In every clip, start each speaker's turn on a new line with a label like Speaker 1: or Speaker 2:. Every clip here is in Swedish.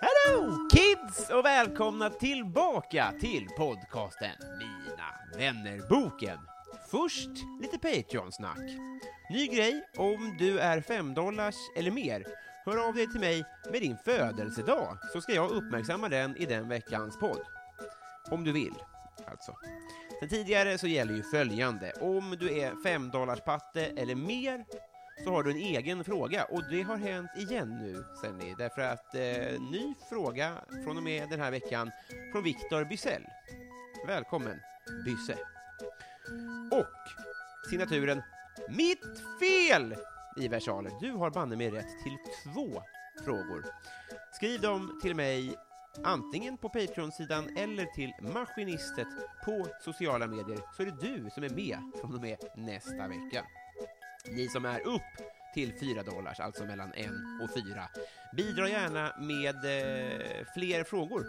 Speaker 1: Hello kids och välkomna tillbaka till podcasten Mina vännerboken. Först lite Patreon-snack. Ny grej, om du är 5 dollars eller mer, hör av dig till mig med din födelsedag så ska jag uppmärksamma den i den veckans podd. Om du vill, alltså. Sen tidigare så gäller ju följande. Om du är 5 dollars patte eller mer så har du en egen fråga och det har hänt igen nu, Senni, därför att eh, ny fråga från och med den här veckan från Viktor Bysell. Välkommen, Bysse. Och signaturen Mitt fel! I versaler. Du har banne mig rätt till två frågor. Skriv dem till mig antingen på Patreon-sidan eller till Maskinistet på sociala medier så är det du som är med från och med nästa vecka. Ni som är upp till 4 dollars, alltså mellan 1 och 4, bidra gärna med eh, fler frågor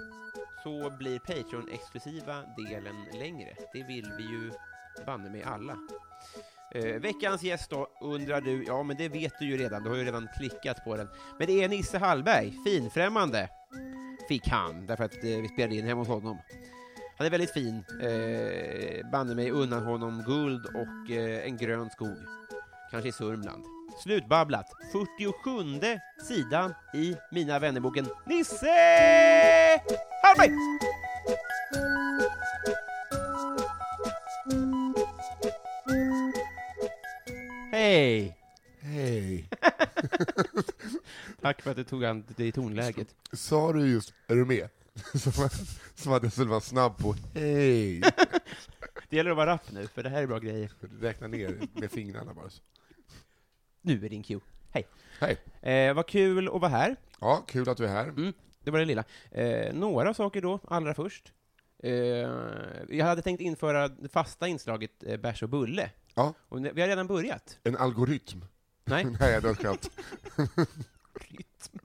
Speaker 1: så blir Patreon-exklusiva delen längre. Det vill vi ju banne mig alla. Eh, veckans gäst då, undrar du, ja men det vet du ju redan, du har ju redan klickat på den. Men det är Nisse Hallberg, finfrämmande, fick han, därför att eh, vi spelade in hemma hos honom. Han är väldigt fin, eh, banne mig undan honom guld och eh, en grön skog kanske i Sörmland. Slutbabblat, 47 sidan i Mina vännerboken Nisse Hallberg! Hej!
Speaker 2: Hej.
Speaker 1: Tack för att du tog an det i tonläget.
Speaker 2: Sa du just ”Är du med?” som, som att jag skulle vara snabb på ”Hej”.
Speaker 1: Det gäller att vara rapp nu, för det här är bra grejer.
Speaker 2: Räkna ner med fingrarna bara. så.
Speaker 1: Nu är din cue. Hej!
Speaker 2: Hej.
Speaker 1: Eh, vad kul att vara här.
Speaker 2: Ja, kul att du är här.
Speaker 1: Mm, det var det lilla. Eh, några saker då, allra först. Eh, jag hade tänkt införa det fasta inslaget eh, bärs och bulle.
Speaker 2: Ja.
Speaker 1: Och ne- vi har redan börjat.
Speaker 2: En algoritm.
Speaker 1: Nej,
Speaker 2: Nej, det var skönt.
Speaker 1: rytm.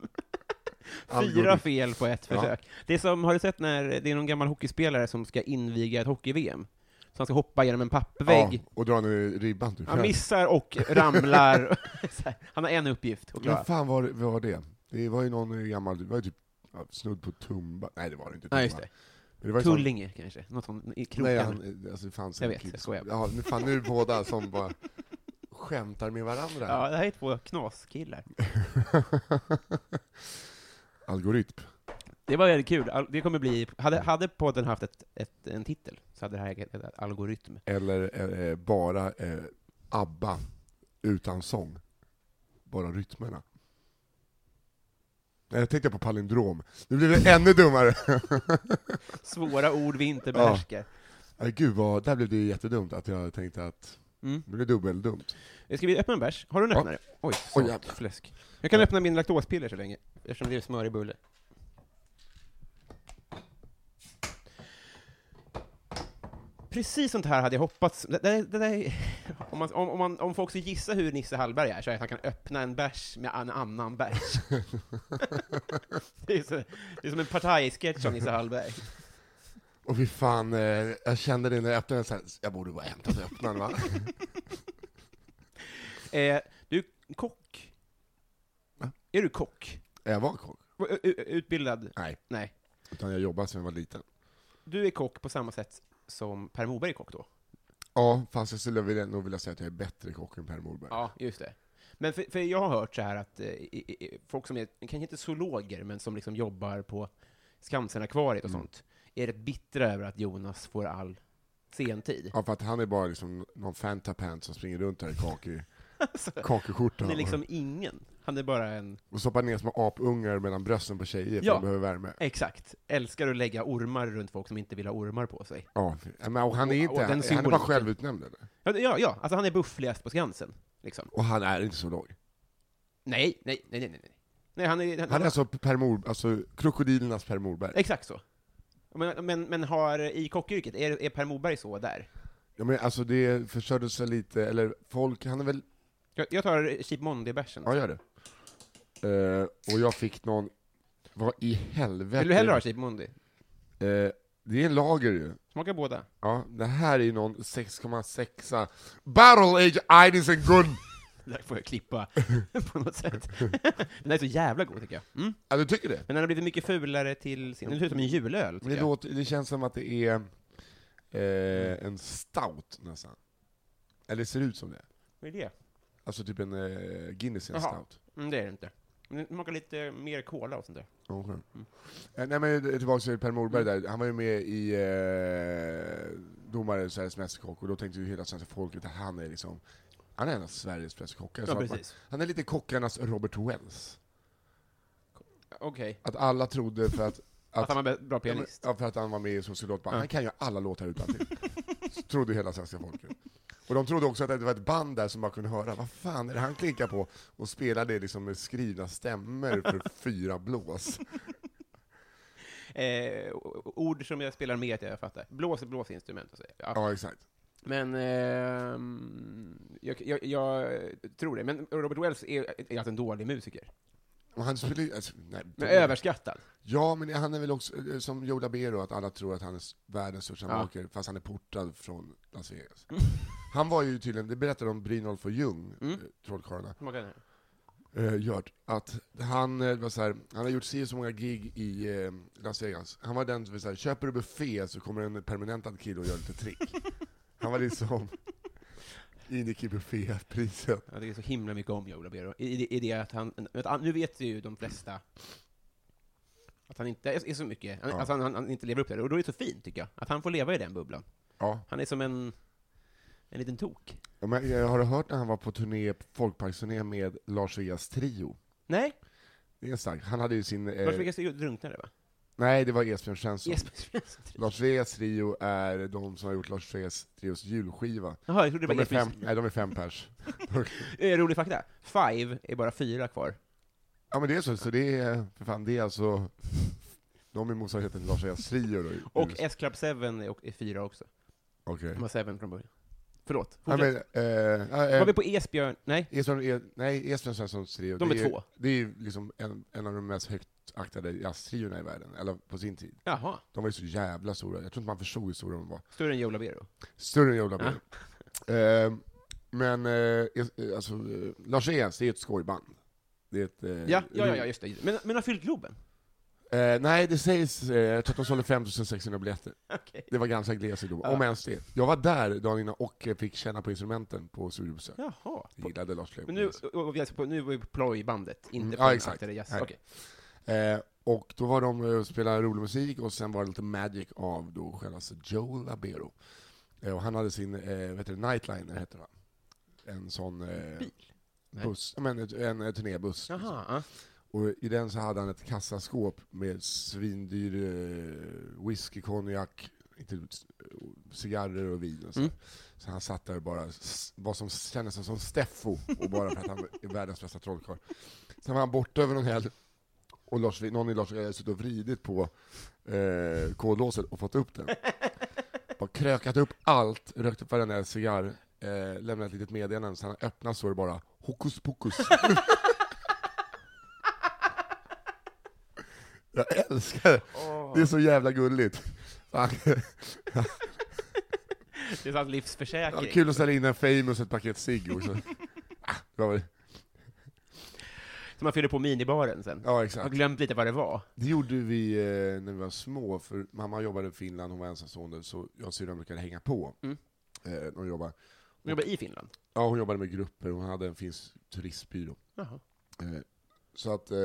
Speaker 1: Fyra
Speaker 2: Algoritm.
Speaker 1: fel på ett
Speaker 2: Ja.
Speaker 1: försök. Det är som, har du sett när det är någon gammal hockeyspelare som ska inviga ett hockey-VM? Så han ska hoppa genom en pappvägg.
Speaker 2: Ja, och dra ner ribban typ. du.
Speaker 1: Han missar och ramlar. Så här, han har en uppgift att klara.
Speaker 2: Men fan var, vad var det? Det var ju någon gammal, det var ju typ ja, snudd på Tumba. Nej, det var det inte.
Speaker 1: Nej, just det.
Speaker 2: Men det var ju sån-
Speaker 1: Tullinge kanske? Något sånt i kroken.
Speaker 2: Nej, han, alltså, det fanns
Speaker 1: Jag
Speaker 2: en
Speaker 1: vet,
Speaker 2: kille
Speaker 1: jag
Speaker 2: som-
Speaker 1: skojar.
Speaker 2: Ja, nu fan nu är det båda som bara skämtar med varandra.
Speaker 1: Ja, det här är två knaskillar.
Speaker 2: Algoritm.
Speaker 1: Det var väldigt kul. Al- Det kommer bli... Hade, hade podden haft ett, ett, en titel så hade det här hetat Algoritm.
Speaker 2: Eller eh, bara eh, ABBA utan sång. Bara rytmerna. Nej, Jag tänkte på palindrom. Nu blev det ännu dummare.
Speaker 1: Svåra ord vi inte behärskar.
Speaker 2: Nej, Gud, vad, där blev det jättedumt att jag tänkte att
Speaker 1: Mm.
Speaker 2: det blev dubbeldumt.
Speaker 1: Eh, Ska vi öppna en bärs? Har du en
Speaker 2: Ja.
Speaker 1: öppnare? Oj,
Speaker 2: Oj,
Speaker 1: Oj
Speaker 2: jävlar.
Speaker 1: fläsk. Jag kan öppna min laktospiller så länge, eftersom det är smör i bulle. Precis sånt här hade jag hoppats. Det, det, det, det, om, man, om, om, man, om folk ska gissa hur Nisse Hallberg är, så är det att han kan öppna en bärs med en annan bärs. det, är så, det är som en partajsketch av Nisse Hallberg.
Speaker 2: Och fy fan, eh, jag kände det när jag öppnade den, så här, jag borde bara hämtat öppnaren va?
Speaker 1: Eh, du är kock.
Speaker 2: Va?
Speaker 1: Är du kock?
Speaker 2: jag var kock.
Speaker 1: U- u- Utbildad?
Speaker 2: Nej,
Speaker 1: Nej.
Speaker 2: utan jag jobbade sedan jag var liten.
Speaker 1: Du är kock på samma sätt som Per Moberg är kock då?
Speaker 2: Ja, fast jag skulle vilja- nog vilja säga att jag är bättre kock än Per Morberg.
Speaker 1: Ja, just det. Men för, för jag har hört så här att eh, i, i, folk som är, kanske inte zoologer, men som liksom jobbar på Skansen-akvariet
Speaker 2: Mm.
Speaker 1: och sånt, är rätt bittra över att Jonas får all scentid.
Speaker 2: Ja, för att han är bara liksom någon fantapant som springer runt här i kaki, kakiskjorta
Speaker 1: Han Alltså, är liksom
Speaker 2: och,
Speaker 1: ingen. Han är bara en...
Speaker 2: och stoppar ner små apungar mellan brösten på tjejer för
Speaker 1: Ja.
Speaker 2: de behöver värme.
Speaker 1: Exakt. Älskar att lägga ormar runt folk som inte vill ha ormar på sig.
Speaker 2: Ja, men, och han är
Speaker 1: Och- och
Speaker 2: inte,
Speaker 1: den
Speaker 2: han är bara
Speaker 1: symboliken.
Speaker 2: självutnämnd eller?
Speaker 1: Ja, det- ja, ja. alltså han är buffligast på Skansen. Liksom.
Speaker 2: Och han är inte så lång.
Speaker 1: Nej, nej, nej, nej, nej. nej. Nej, han är...
Speaker 2: Han är alltså Per Mor, alltså krokodilernas Per Morberg.
Speaker 1: Exakt så. Men, men, men har i kockyrket, är, är Per Moberg så där?
Speaker 2: Ja, men alltså det försörjde sig lite, eller folk, han är väl,
Speaker 1: Jag, jag tar alltså. Cheap Monday-bärsen.
Speaker 2: ja gör det. Eh, och jag fick någon, vad i helvete?
Speaker 1: Vill du hellre ha Cheap Monday?
Speaker 2: Eh, det är en lager ju.
Speaker 1: Smaka båda.
Speaker 2: Ja, det här är ju någon 6,6 Battle Age Ides and Gun!
Speaker 1: Det där får jag klippa på något sätt. Den är så jävla god tycker jag. Mm.
Speaker 2: Ja, du tycker det?
Speaker 1: Men den har blivit mycket fulare till sin... Den ser ut som en julöl,
Speaker 2: Men det,
Speaker 1: tycker jag.
Speaker 2: låter, det känns som att det är eh, en stout nästan. Eller ser ut som det.
Speaker 1: Vad är det?
Speaker 2: Alltså typ en eh, Guinness är en
Speaker 1: Jaha.
Speaker 2: stout.
Speaker 1: Mm, det är det inte. Men Den smakar lite mer cola och sånt där.
Speaker 2: Okay. Eh, nej men tillbaka till Per Morberg
Speaker 1: Mm.
Speaker 2: där, han var ju med i eh, Domare Sveriges Mästerkock, och då tänkte ju hela svenska folket att han är liksom, han är en av Sveriges bästa kockar. Så
Speaker 1: Ja,
Speaker 2: att man-
Speaker 1: precis.
Speaker 2: Han är lite kockarnas Robert Wells.
Speaker 1: Okej.
Speaker 2: Att alla trodde för att...
Speaker 1: Att han var bra pianist.
Speaker 2: Ja, för att han var med i Sociologban.
Speaker 1: Ja.
Speaker 2: Han kan ju alla låtar utantill. Så trodde hela svenska folket. Och de trodde också att det var ett band där som bara kunde höra, vad fan är det han klickar på? Och spelade liksom med skrivna stämmer för fyra blås.
Speaker 1: Eh, o- o- ord som jag spelar med att jag fattar. Blås är blåsinstrument. Alltså. Ja.
Speaker 2: Ja, exakt.
Speaker 1: Men ehm, jag, jag, jag tror det. Men Robert Wells är, är alltså en dålig musiker.
Speaker 2: Och han spelar ju... Alltså, nej,
Speaker 1: Men överskattad.
Speaker 2: Ja, men han är väl också, eh, som Joe Labero, att alla tror att han är s- världens största
Speaker 1: Ja.
Speaker 2: maker, fast han är portad från Las Vegas. Han var ju tydligen, det berättade om Brynolf och Ljung, mm. trollkarlarna,
Speaker 1: Smakar den här.
Speaker 2: eh, gjort, att han, eh, var så här, han har gjort si och så många gig i eh, Las Vegas. Han var den som var så här, köper du buffé så kommer en permanentad kille och gör lite trick. han var liksom Inic i buffépriset.
Speaker 1: Jag tycker så himla mycket om Joe Labero. I, i, i det att han, att han, nu vet ju de flesta att han inte är, är så mycket, han,
Speaker 2: Ja.
Speaker 1: alltså han, han, han inte lever upp till det. Och då är det så fint, tycker jag, att han får leva i den bubblan.
Speaker 2: Ja.
Speaker 1: Han är som en, en liten tok.
Speaker 2: Ja, Men, jag har du hört när han var på turné, folkparksturné med Lars Vegas trio?
Speaker 1: Nej,
Speaker 2: Det är starkt. Han hade ju sin... eh,
Speaker 1: Lars Vegas drunknade, va?
Speaker 2: Nej, det var Esbjörn Svensson.
Speaker 1: Jesper Svensson.
Speaker 2: Lars Vegas trio är de som har gjort Lars Vegas trios julskiva.
Speaker 1: Jaha, jag trodde det
Speaker 2: De
Speaker 1: var
Speaker 2: är fem,
Speaker 1: Jesper
Speaker 2: nej, de är fem pers.
Speaker 1: Eh, Rolig fakta. Five är bara fyra kvar.
Speaker 2: Ja men det är så, så det är, för fan, det är alltså, de är motsvarigheten till Lars Vegas trio då. i
Speaker 1: Och
Speaker 2: USA.
Speaker 1: S-Club 7 är, och- är fyra också.
Speaker 2: Okej.
Speaker 1: De har 7 från början. Förlåt.
Speaker 2: Ja,
Speaker 1: Fortsätt.
Speaker 2: men, eh, eh,
Speaker 1: Var vi på Esbjörn? Nej.
Speaker 2: Esbjörn, eh, nej, Esbjörn Svenssons trio.
Speaker 1: De är
Speaker 2: det
Speaker 1: två.
Speaker 2: Det är ju liksom en, en av de mest högt aktade jazztriorna i världen, eller på sin tid.
Speaker 1: Jaha.
Speaker 2: De var ju så jävla stora, jag tror inte man förstod hur stora de var.
Speaker 1: Större än Joe
Speaker 2: eh,
Speaker 1: Labero.
Speaker 2: Större än Joe Labero. Eh, men eh, es- eh, alltså, eh, Lars Vegas, det är ett skojband. Det är ett, eh,
Speaker 1: Ja, ja, ja, ja, just det. Men, men har fyllt Globen?
Speaker 2: Eh, nej, det sägs, eh, jag tror att de sålde 5600 biljetter.
Speaker 1: Okej.
Speaker 2: Det var ganska glest då, om ens det. Jag var där dagen innan och eh, fick känna på instrumenten på studiebesök.
Speaker 1: Jaha.
Speaker 2: Jag gillade Lars
Speaker 1: Men nu,
Speaker 2: Lejonborg.
Speaker 1: och- och vi är alltså på, nu var vi på plojbandet, inte
Speaker 2: Mm,
Speaker 1: på
Speaker 2: ja,
Speaker 1: den
Speaker 2: exakt.
Speaker 1: aktade jazz.
Speaker 2: Nej.
Speaker 1: Okej.
Speaker 2: Eh, och då var de eh, och spelade rolig musik, och sen var det lite magic av då självaste Joe Labero. Eh, och han hade sin, eh, vet du, Nightliner heter han. En sån... Eh,
Speaker 1: Bil? Nej.
Speaker 2: Buss, ja, men ett- en, en turnébuss.
Speaker 1: Jaha. ja.
Speaker 2: Och i den så hade han ett kassaskåp med svindyr eh, whisky, konjak, inte, eh, cigarrer och vin och så.
Speaker 1: Mm.
Speaker 2: Så han satt där och bara, s- vad som kändes som Steffo, och bara för att han är världens bästa trollkarl. Sen var han borta över någon helg, och Lars, någon i Lars hade suttit och vridit på eh, kodlåset och fått upp den. Bara krökat upp allt, rökt upp varenda cigarr, eh, lämnat ett litet meddelande, så han öppnade så var det bara hokus pokus. Jag älskar det. Det är så jävla gulligt. Fan,
Speaker 1: Det är sant
Speaker 2: ja,
Speaker 1: livsförsäkring.
Speaker 2: Kul att ställa in en Famous och ett paket cigg också. Ah, det var väl-
Speaker 1: Som man fyller på minibaren sen.
Speaker 2: Ja,
Speaker 1: Jag har
Speaker 2: exakt.
Speaker 1: glömt lite vad det var.
Speaker 2: Det gjorde vi eh, när vi var små, för mamma jobbade i Finland, hon var ensamstående, så jag och syrran brukade hänga på.
Speaker 1: Mm.
Speaker 2: Eh, hon jobbar.
Speaker 1: Hon jobbar i Finland.
Speaker 2: Ja, hon jobbade med grupper, hon hade en finsk turistbyrå.
Speaker 1: Jaha.
Speaker 2: Eh, Så att eh,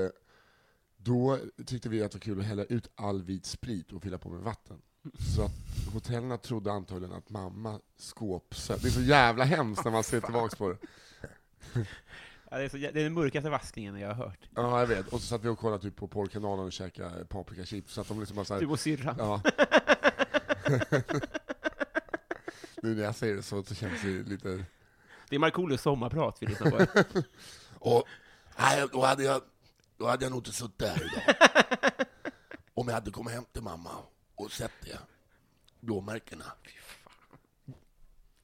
Speaker 2: då tyckte vi att det var kul att hälla ut all vit sprit och fylla på med vatten. Så att hotellerna trodde antagligen att mamma skåpsöp. Det är så jävla hemskt när man ser tillbaka på det.
Speaker 1: Ja, det, är så, jä- det är den mörkaste vaskningen jag har hört.
Speaker 2: Ja, jag vet. Och så satt vi och kollade typ på porrkanalen och käkade paprikachips. Så att de liksom bara så här,
Speaker 1: Du Typ och syrran.
Speaker 2: Ja. nu när jag säger det så, så känns det lite...
Speaker 1: Det är Markoolios sommarprat vi lyssnar på.
Speaker 2: Och, nej, då hade jag, då hade jag nog inte suttit här idag. Om jag hade kommit hem till mamma och sett det. Blåmärkena.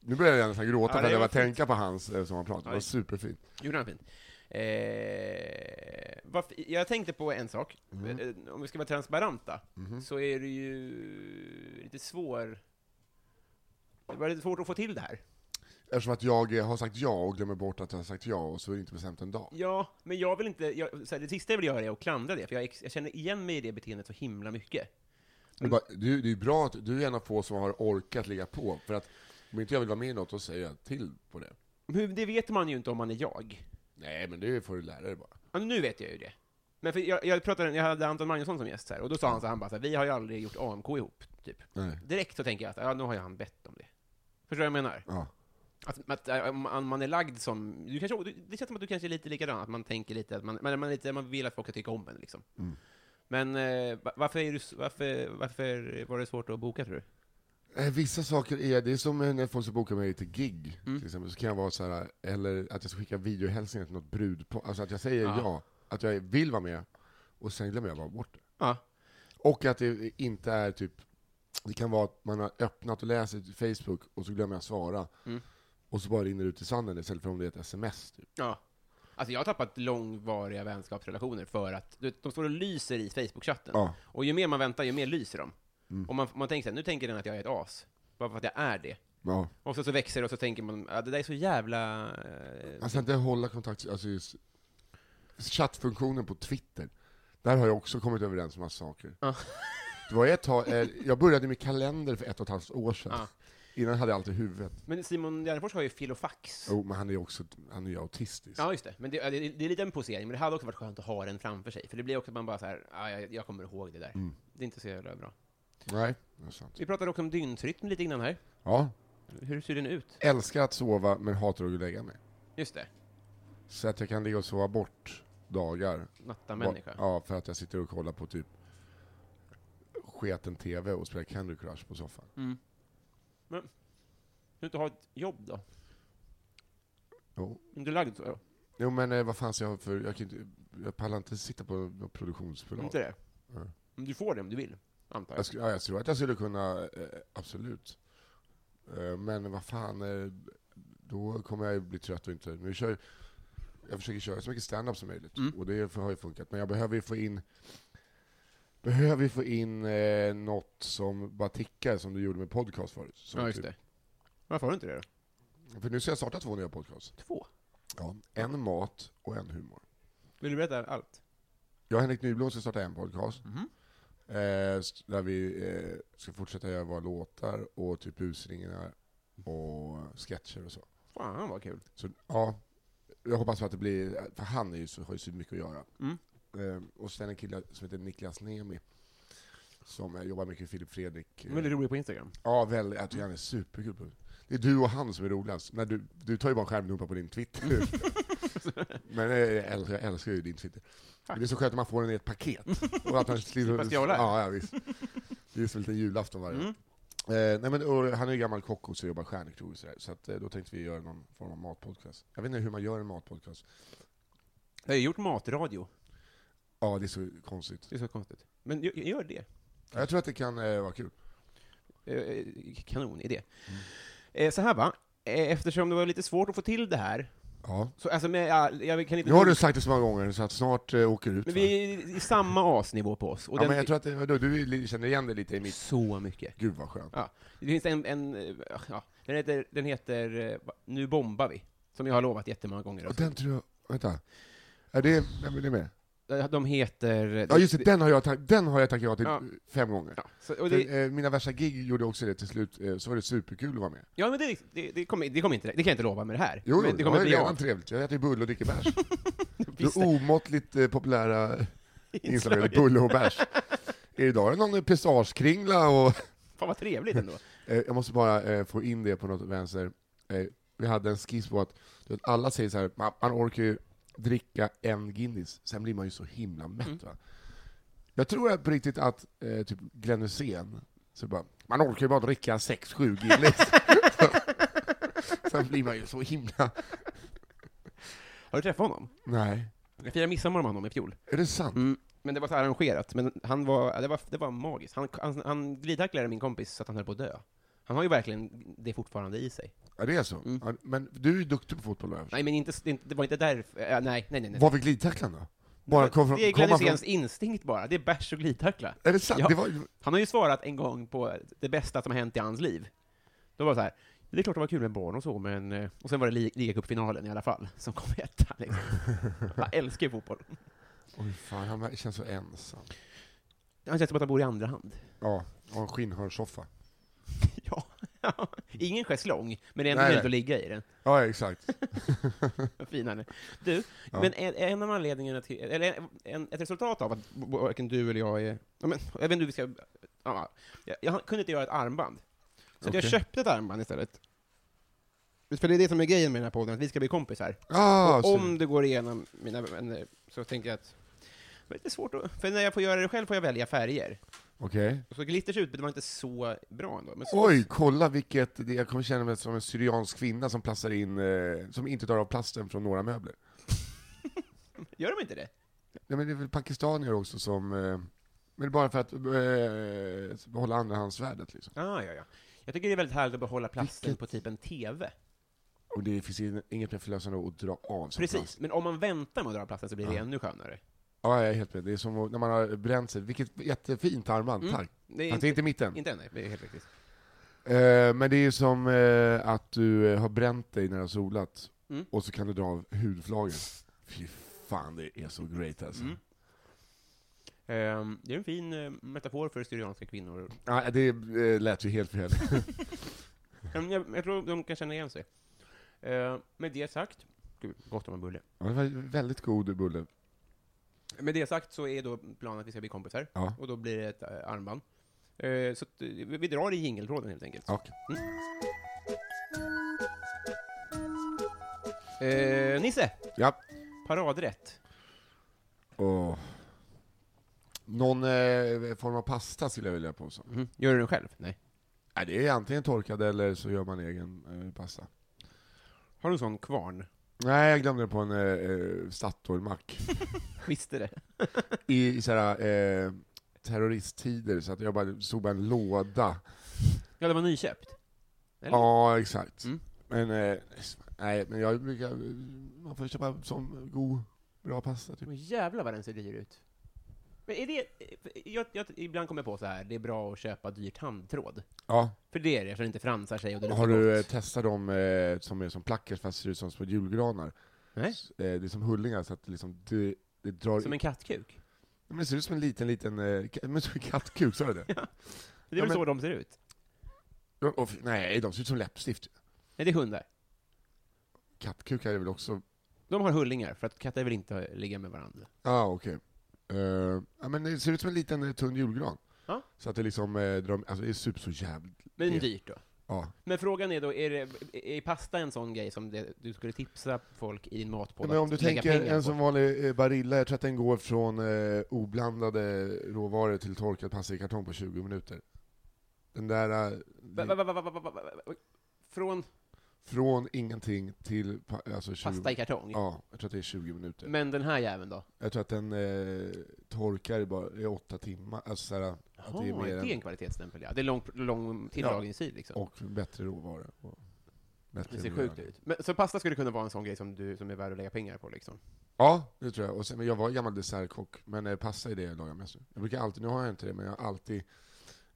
Speaker 2: Nu börjar jag nästan
Speaker 1: Ja,
Speaker 2: gråta för
Speaker 1: det
Speaker 2: att jag
Speaker 1: var
Speaker 2: bara
Speaker 1: fint.
Speaker 2: tänka på hans eh, som han pratade. Det var
Speaker 1: Oj.
Speaker 2: superfint.
Speaker 1: Gjorde han fint? Eh, varför- jag tänkte på en sak.
Speaker 2: Mm.
Speaker 1: Eh, Om vi ska vara transparenta,
Speaker 2: Mm-hmm.
Speaker 1: så är det ju lite svår... Det var lite svårt att få till det här.
Speaker 2: Eftersom att jag eh, har sagt ja och glömmer bort att jag har sagt ja, och så är det inte bestämt en dag.
Speaker 1: Ja, men jag vill inte... Jag, så här, det sista jag vill göra är att klandra det, för jag, ex- jag känner igen mig i det beteendet så himla mycket.
Speaker 2: Det är
Speaker 1: Mm.
Speaker 2: bara- Du, det är bra att du är en av få som har orkat ligga på, för att om inte jag vill vara med i något, då säger jag till på det.
Speaker 1: Men det vet man ju inte om man är jag.
Speaker 2: Nej, men det får du lära dig bara.
Speaker 1: Ja, nu vet jag ju det. Men för jag, jag, pratade, jag hade Anton Magnusson som gäst, så här, och då sa han så här, han bara så här, vi har ju aldrig gjort AMK ihop, typ.
Speaker 2: Nej.
Speaker 1: Direkt så tänker jag att, ja, nu har ju han bett om det. Förstår du vad jag menar?
Speaker 2: Ja.
Speaker 1: Att, att äh, om man- man är lagd som, du kanske, du- det känns som att du kanske är lite likadan, att man tänker lite att man, man, man, är lite, man vill att folk ska tycka om en liksom. Men eh, va- varför, är du, s- varför, varför var det svårt att boka tror du?
Speaker 2: Eh, Vissa saker är, det är som när folk ska boka mig till gig, till exempel, så kan jag vara så här, eller att jag ska skicka videohälsningar till något brudpar, alltså att jag säger ja. att jag vill vara med, och sen glömmer jag bara bort det.
Speaker 1: Ja.
Speaker 2: Och att det inte är typ, det kan vara att man har öppnat och läst Facebook, och så glömmer jag svara, och så bara rinner det ut i sanden istället för om det är ett sms. Typ.
Speaker 1: ja. Alltså jag har tappat långvariga vänskapsrelationer för att du, vet, de står och lyser i Facebook-chatten.
Speaker 2: Ja.
Speaker 1: Och ju mer man väntar, ju mer lyser de. Och man, man tänker så här, nu tänker den att jag är ett as, bara för att jag är det.
Speaker 2: Ja.
Speaker 1: Och så, så växer det och så tänker man, ja, det där är så jävla... eh,
Speaker 2: Alltså inte hålla kontakt, alltså just chattfunktionen på Twitter, där har jag också kommit överens om massa saker.
Speaker 1: Ja.
Speaker 2: Det var ett tag, eh, jag började med kalender för ett och ett halvt år sedan.
Speaker 1: Ja.
Speaker 2: Innan hade jag alltid huvudet.
Speaker 1: Men Simon Gärdenfors har ju filofax.
Speaker 2: Jo, men han är ju också, han är ju autistisk.
Speaker 1: Ja, just det. Men det, ja, det, det är lite en posering, men det hade också varit skönt att ha den framför sig. För det blir också att man bara så här, ah, jag, jag kommer ihåg det där. Det är inte så jävla bra.
Speaker 2: Nej, det är sant.
Speaker 1: Vi pratade också om dygnsrytm lite innan här.
Speaker 2: Ja.
Speaker 1: Hur ser den ut?
Speaker 2: Älskar att sova, men hatar att gå och lägga mig.
Speaker 1: Just det,
Speaker 2: Så att jag kan ligga och sova bort dagar.
Speaker 1: natta människa.
Speaker 2: Ja, för att jag sitter och kollar på typ sketen TV och spelar Candy Crush på soffan.
Speaker 1: Mm. Du inte ha ett jobb då?
Speaker 2: Jo.
Speaker 1: Om Du är lagd så? ja.
Speaker 2: Jo men eh, vad fan ska jag ha för, jag, kan inte, jag pallar inte sitta på något produktionsbolag.
Speaker 1: Inte det?
Speaker 2: Nej.
Speaker 1: Men Du får det om du vill, antar jag.
Speaker 2: Jag, skulle, ja, jag tror att jag skulle kunna, eh, absolut. Eh, men vad fan, eh, då kommer jag ju bli trött och inte... Nu kör, jag försöker köra så mycket stand-up som möjligt,
Speaker 1: Mm.
Speaker 2: och det har ju funkat. Men jag behöver ju få in Behöver ju få in eh, något som bara tickar, som du gjorde med podcast förut. Som
Speaker 1: Ja, just det. Varför har du inte det då?
Speaker 2: För nu ska jag starta två nya podcasts.
Speaker 1: Två.
Speaker 2: Ja. En mat och en humor.
Speaker 1: Vill du berätta allt?
Speaker 2: Jag och Henrik Nyblom ska starta en podcast.
Speaker 1: Mhm.
Speaker 2: Eh, s- där vi eh, ska fortsätta göra våra låtar och typ busringningar och sketcher och så.
Speaker 1: Fan vad kul.
Speaker 2: Så ja, jag hoppas på att det blir, för han är ju så, har ju så mycket att göra.
Speaker 1: Mm.
Speaker 2: Eh, och sen en kille som heter Niklas Nemi, som eh, jobbar mycket med Filip Fredrik. Eh,
Speaker 1: Väldigt rolig på Instagram.
Speaker 2: ja, väldigt, jag tycker han är superkul. på- Det är du och han som är roligast. När du, du tar ju bara en skärmdumpar på din Twitter. Men eh, jag älskar, jag älskar ju din Twitter. Det är så skönt att man får den i ett paket. Och att man slipper
Speaker 1: stjåla.
Speaker 2: Ja, ja, visst. Det är som en liten julafton varje
Speaker 1: Mm.
Speaker 2: år. Eh, nej, men, och han är ju gammal kock också och jobbar stjärnkrog och sådär, så att, eh, då tänkte vi göra någon form av matpodcast. Jag vet inte hur man gör en matpodcast.
Speaker 1: Jag har ju gjort matradio.
Speaker 2: Ja, det är så konstigt.
Speaker 1: Det är så konstigt. Men gö- gör det.
Speaker 2: Ja, Jag tror att det kan eh, vara kul.
Speaker 1: Eh, Kanonidé.
Speaker 2: Mm.
Speaker 1: Eh, Så här va, Eh, eftersom det var lite svårt att få till det här,
Speaker 2: Ja.
Speaker 1: så alltså med, jag, jag kan inte...
Speaker 2: Nu har du sagt det så många gånger, så att snart eh, åker du ut.
Speaker 1: Men
Speaker 2: va?
Speaker 1: vi är i samma asnivå på oss, och
Speaker 2: ja,
Speaker 1: den
Speaker 2: men jag tror att det, vadå, du li- känner igen det lite i mitt...
Speaker 1: så mycket.
Speaker 2: Gud vad skönt.
Speaker 1: Ja. Det finns en, en eh, ja, den heter, den heter eh, va- Nu bombar vi, som jag har lovat jättemånga gånger.
Speaker 2: Och
Speaker 1: Alltså.
Speaker 2: den tror jag... Vänta. Är det, vem är det med?
Speaker 1: eh, de heter...
Speaker 2: Ja just det, den har jag, tack- den har jag tackat ja till
Speaker 1: Ja.
Speaker 2: fem gånger.
Speaker 1: Ja, så, och det,
Speaker 2: För, eh, mina värsta gig gjorde också det till slut, eh, så var det superkul att vara med.
Speaker 1: ja men det, det, det, kommer, det kommer inte, det kan jag inte lova med det här.
Speaker 2: Jo,
Speaker 1: men
Speaker 2: det,
Speaker 1: det
Speaker 2: det
Speaker 1: kommer
Speaker 2: var
Speaker 1: bli
Speaker 2: redan
Speaker 1: av.
Speaker 2: trevligt. Jag äter ju bulle och dricker bärs.
Speaker 1: Visst
Speaker 2: det
Speaker 1: det.
Speaker 2: omåttligt eh, populära inslaget
Speaker 1: Inslaget.
Speaker 2: bulle och bärs. Idag är det någon pistagekringla och...
Speaker 1: Fan vad trevligt ändå.
Speaker 2: Eh, jag måste bara eh, få in det på något vänster. Eh, vi hade en skiss på att du vet, alla säger så här, man, man orkar ju dricka en Guinness, sen blir man ju så himla mätt.
Speaker 1: Mm.
Speaker 2: Va? Jag tror att på riktigt att eh, typ Glenn Hysén, så bara, man orkar ju bara dricka 6-7 Guinness. sen blir man ju så himla...
Speaker 1: Har du träffat honom?
Speaker 2: Nej.
Speaker 1: Jag firade midsommar med honom i fjol.
Speaker 2: Är det sant?
Speaker 1: Mm. Men det var så arrangerat, men han var, det var, det var magiskt. Han, han, han glidtacklade min kompis så att han höll på att dö. Han har ju verkligen det fortfarande i sig.
Speaker 2: Ja, det är så? Ja, men du är ju duktig på fotboll, vad jag förstår.
Speaker 1: Mm. Nej, men inte, det, det var inte därför, äh, nej, nej, nej. nej.
Speaker 2: Var fick glidtacklan då? Bara kom från,
Speaker 1: det är
Speaker 2: kom
Speaker 1: Glenn
Speaker 2: han från,
Speaker 1: Hyséns instinkt bara, det är bärs och glidtackla.
Speaker 2: Är det sant?
Speaker 1: Ja.
Speaker 2: Det var,
Speaker 1: Han har ju svarat en gång på det bästa som har hänt i hans liv. Då var det så här, det är klart det var kul med barn och så, men... eh," Och sen var det li- ligacupfinalen i alla fall, som kom etta. Liksom. Han älskar ju fotboll.
Speaker 2: oj fan, han känns så ensam.
Speaker 1: Han känns som att han bor i andra hand.
Speaker 2: Ja, och en skinnhörnsoffa.
Speaker 1: Ja. Ingen schäslong, men det är ändå
Speaker 2: Nej,
Speaker 1: möjligt
Speaker 2: nej.
Speaker 1: att ligga i den.
Speaker 2: Ja, exakt.
Speaker 1: Vad fin han är. Du,
Speaker 2: Ja.
Speaker 1: men en, en av anledningarna till, eller en, en, ett resultat av att b- varken du eller jag är, ja, men, jag vet inte hur vi ska, ja, jag, jag kunde inte göra ett armband. Så att jag
Speaker 2: Okej.
Speaker 1: köpte ett armband istället. För det är det som är grejen med den här podden, att vi ska bli kompisar.
Speaker 2: Ah,
Speaker 1: och
Speaker 2: så-
Speaker 1: om det går igenom mina vänner, så tänker jag att det är lite svårt att, för när jag får göra det själv får jag välja färger.
Speaker 2: Okej.
Speaker 1: Och så glitters utbud var inte så bra ändå. Men så,
Speaker 2: Oj, kolla vilket... det- Jag kommer känna mig som en syriansk kvinna som plastar in, eh, som inte tar av plasten från några möbler.
Speaker 1: Gör de inte det?
Speaker 2: Nej, men det är väl pakistanier också som... Eh, men det är bara för att eh, behålla andrahandsvärdet liksom.
Speaker 1: Ah, ja, ja. Jag tycker det är väldigt härligt att behålla plasten
Speaker 2: Vilket-
Speaker 1: på typ en TV.
Speaker 2: Och det finns in- inget mer förlösande än att dra av som
Speaker 1: Precis,
Speaker 2: plast.
Speaker 1: men om man väntar med att dra av plasten så blir det ännu skönare.
Speaker 2: Ja, jag är helt med. Det är som att- när man har bränt sig. Vilket jättefint armband,
Speaker 1: Mm.
Speaker 2: tack.
Speaker 1: Det
Speaker 2: Fast det är inte mitt än.
Speaker 1: inte än, nej. Det är helt riktigt.
Speaker 2: Eh, men det är ju som eh, att du eh, har bränt dig när du har solat,
Speaker 1: Mm.
Speaker 2: och så kan du dra av hudflaggen. Fy fan, det är så great alltså.
Speaker 1: Mm. Ehm, det är en fin eh, metafor för syrianska kvinnor.
Speaker 2: Ja, det eh, lät ju helt fel.
Speaker 1: Ehm, jag, jag tror de kan känna igen sig. Ehm, med det sagt, gud, gott om en bulle.
Speaker 2: Ja, det var ju väldigt god bulle.
Speaker 1: Med det sagt så är då planen att vi ska bli kompisar,
Speaker 2: Ja.
Speaker 1: och då blir det ett eh, armband. Ehm, så att, eh, vi vi drar i jingeltråden helt enkelt.
Speaker 2: Och,
Speaker 1: Ehm, Nisse,
Speaker 2: ja.
Speaker 1: paradrätt.
Speaker 2: Och, någon eh, form av pasta skulle jag vilja påstå.
Speaker 1: Gör du den själv? Nej.
Speaker 2: Nej, det är antingen torkad eller så gör man egen eh, pasta.
Speaker 1: Har du en sån kvarn?
Speaker 2: Nej, jag glömde den på en eh, eh, Statoil-mack.
Speaker 1: Visste det.
Speaker 2: I, i såhär, eh, terroristtider, så att jag bara såg bara en låda.
Speaker 1: Ja, det var nyköpt. Eller?
Speaker 2: Ja, exakt.
Speaker 1: Mm.
Speaker 2: Men, eh, nej, men jag brukar, man får köpa som god, bra pasta typ.
Speaker 1: Men jävlar vad den ser dyr ut. Men är det, jag, jag, ibland kommer jag på så här, det är bra att köpa dyr tandtråd.
Speaker 2: Ja,
Speaker 1: För det är det, så det inte fransar sig och det
Speaker 2: Har
Speaker 1: luktar
Speaker 2: du eh,
Speaker 1: gott.
Speaker 2: testat dem eh, som är som plackers fast ser ut som små julgranar?
Speaker 1: Nej?
Speaker 2: S- Eh, det är som hullingar så att det liksom, det, det drar
Speaker 1: Som en kattkuk?
Speaker 2: Men det ser ut som en liten, liten eh, ka- men som en kattkuk, sa du det?
Speaker 1: Det är
Speaker 2: Ja,
Speaker 1: väl
Speaker 2: men-
Speaker 1: så de ser ut?
Speaker 2: Ja, och f- nej, de ser ut som läppstift.
Speaker 1: Nej, det är hundar.
Speaker 2: Kattkukar är väl också...
Speaker 1: De har hullingar, för att katter vill inte ligga med varandra.
Speaker 2: Ja, ah, okej. Eh, ja, men det ser ut som en liten eh, tunn julgran.
Speaker 1: Ja.
Speaker 2: Så att det liksom eh, drar, alltså det är super så jävligt...
Speaker 1: Men
Speaker 2: Det-
Speaker 1: dyrt då.
Speaker 2: Ja.
Speaker 1: Men frågan är då, är, det, är pasta en sån grej som det, du skulle tipsa folk i din matpodd
Speaker 2: Men om
Speaker 1: att
Speaker 2: du
Speaker 1: lägga
Speaker 2: tänker
Speaker 1: pengar
Speaker 2: en
Speaker 1: på?
Speaker 2: som vanlig eh, Barilla, jag tror att den går från eh, oblandade råvaror till torkad pasta i kartong på 20 minuter. Den där... eh,
Speaker 1: Va, va, va, va, va, va, va, va, va, från
Speaker 2: Från ingenting till pa- alltså 20,
Speaker 1: pasta i kartong?
Speaker 2: Ja, typ. jag tror att det är 20 minuter.
Speaker 1: Men den här jäveln då?
Speaker 2: Jag tror att den eh, torkar i bara i åtta timmar, alltså såhär, att
Speaker 1: Jaha,
Speaker 2: det är mer
Speaker 1: det är en
Speaker 2: än,
Speaker 1: kvalitetsstämpel ja. Det är lång, lång tillagningstid liksom.
Speaker 2: och bättre råvaror. Och bättre
Speaker 1: Det ser
Speaker 2: miljö.
Speaker 1: sjukt ut. Men, så pasta skulle kunna vara en sån grej som, du, som är värd att lägga pengar på liksom?
Speaker 2: Ja, det tror jag. Och sen, men jag var gammal dessertkock, men eh, pasta är det jag lagar mest nu. Jag brukar alltid, nu har jag inte det, men jag har alltid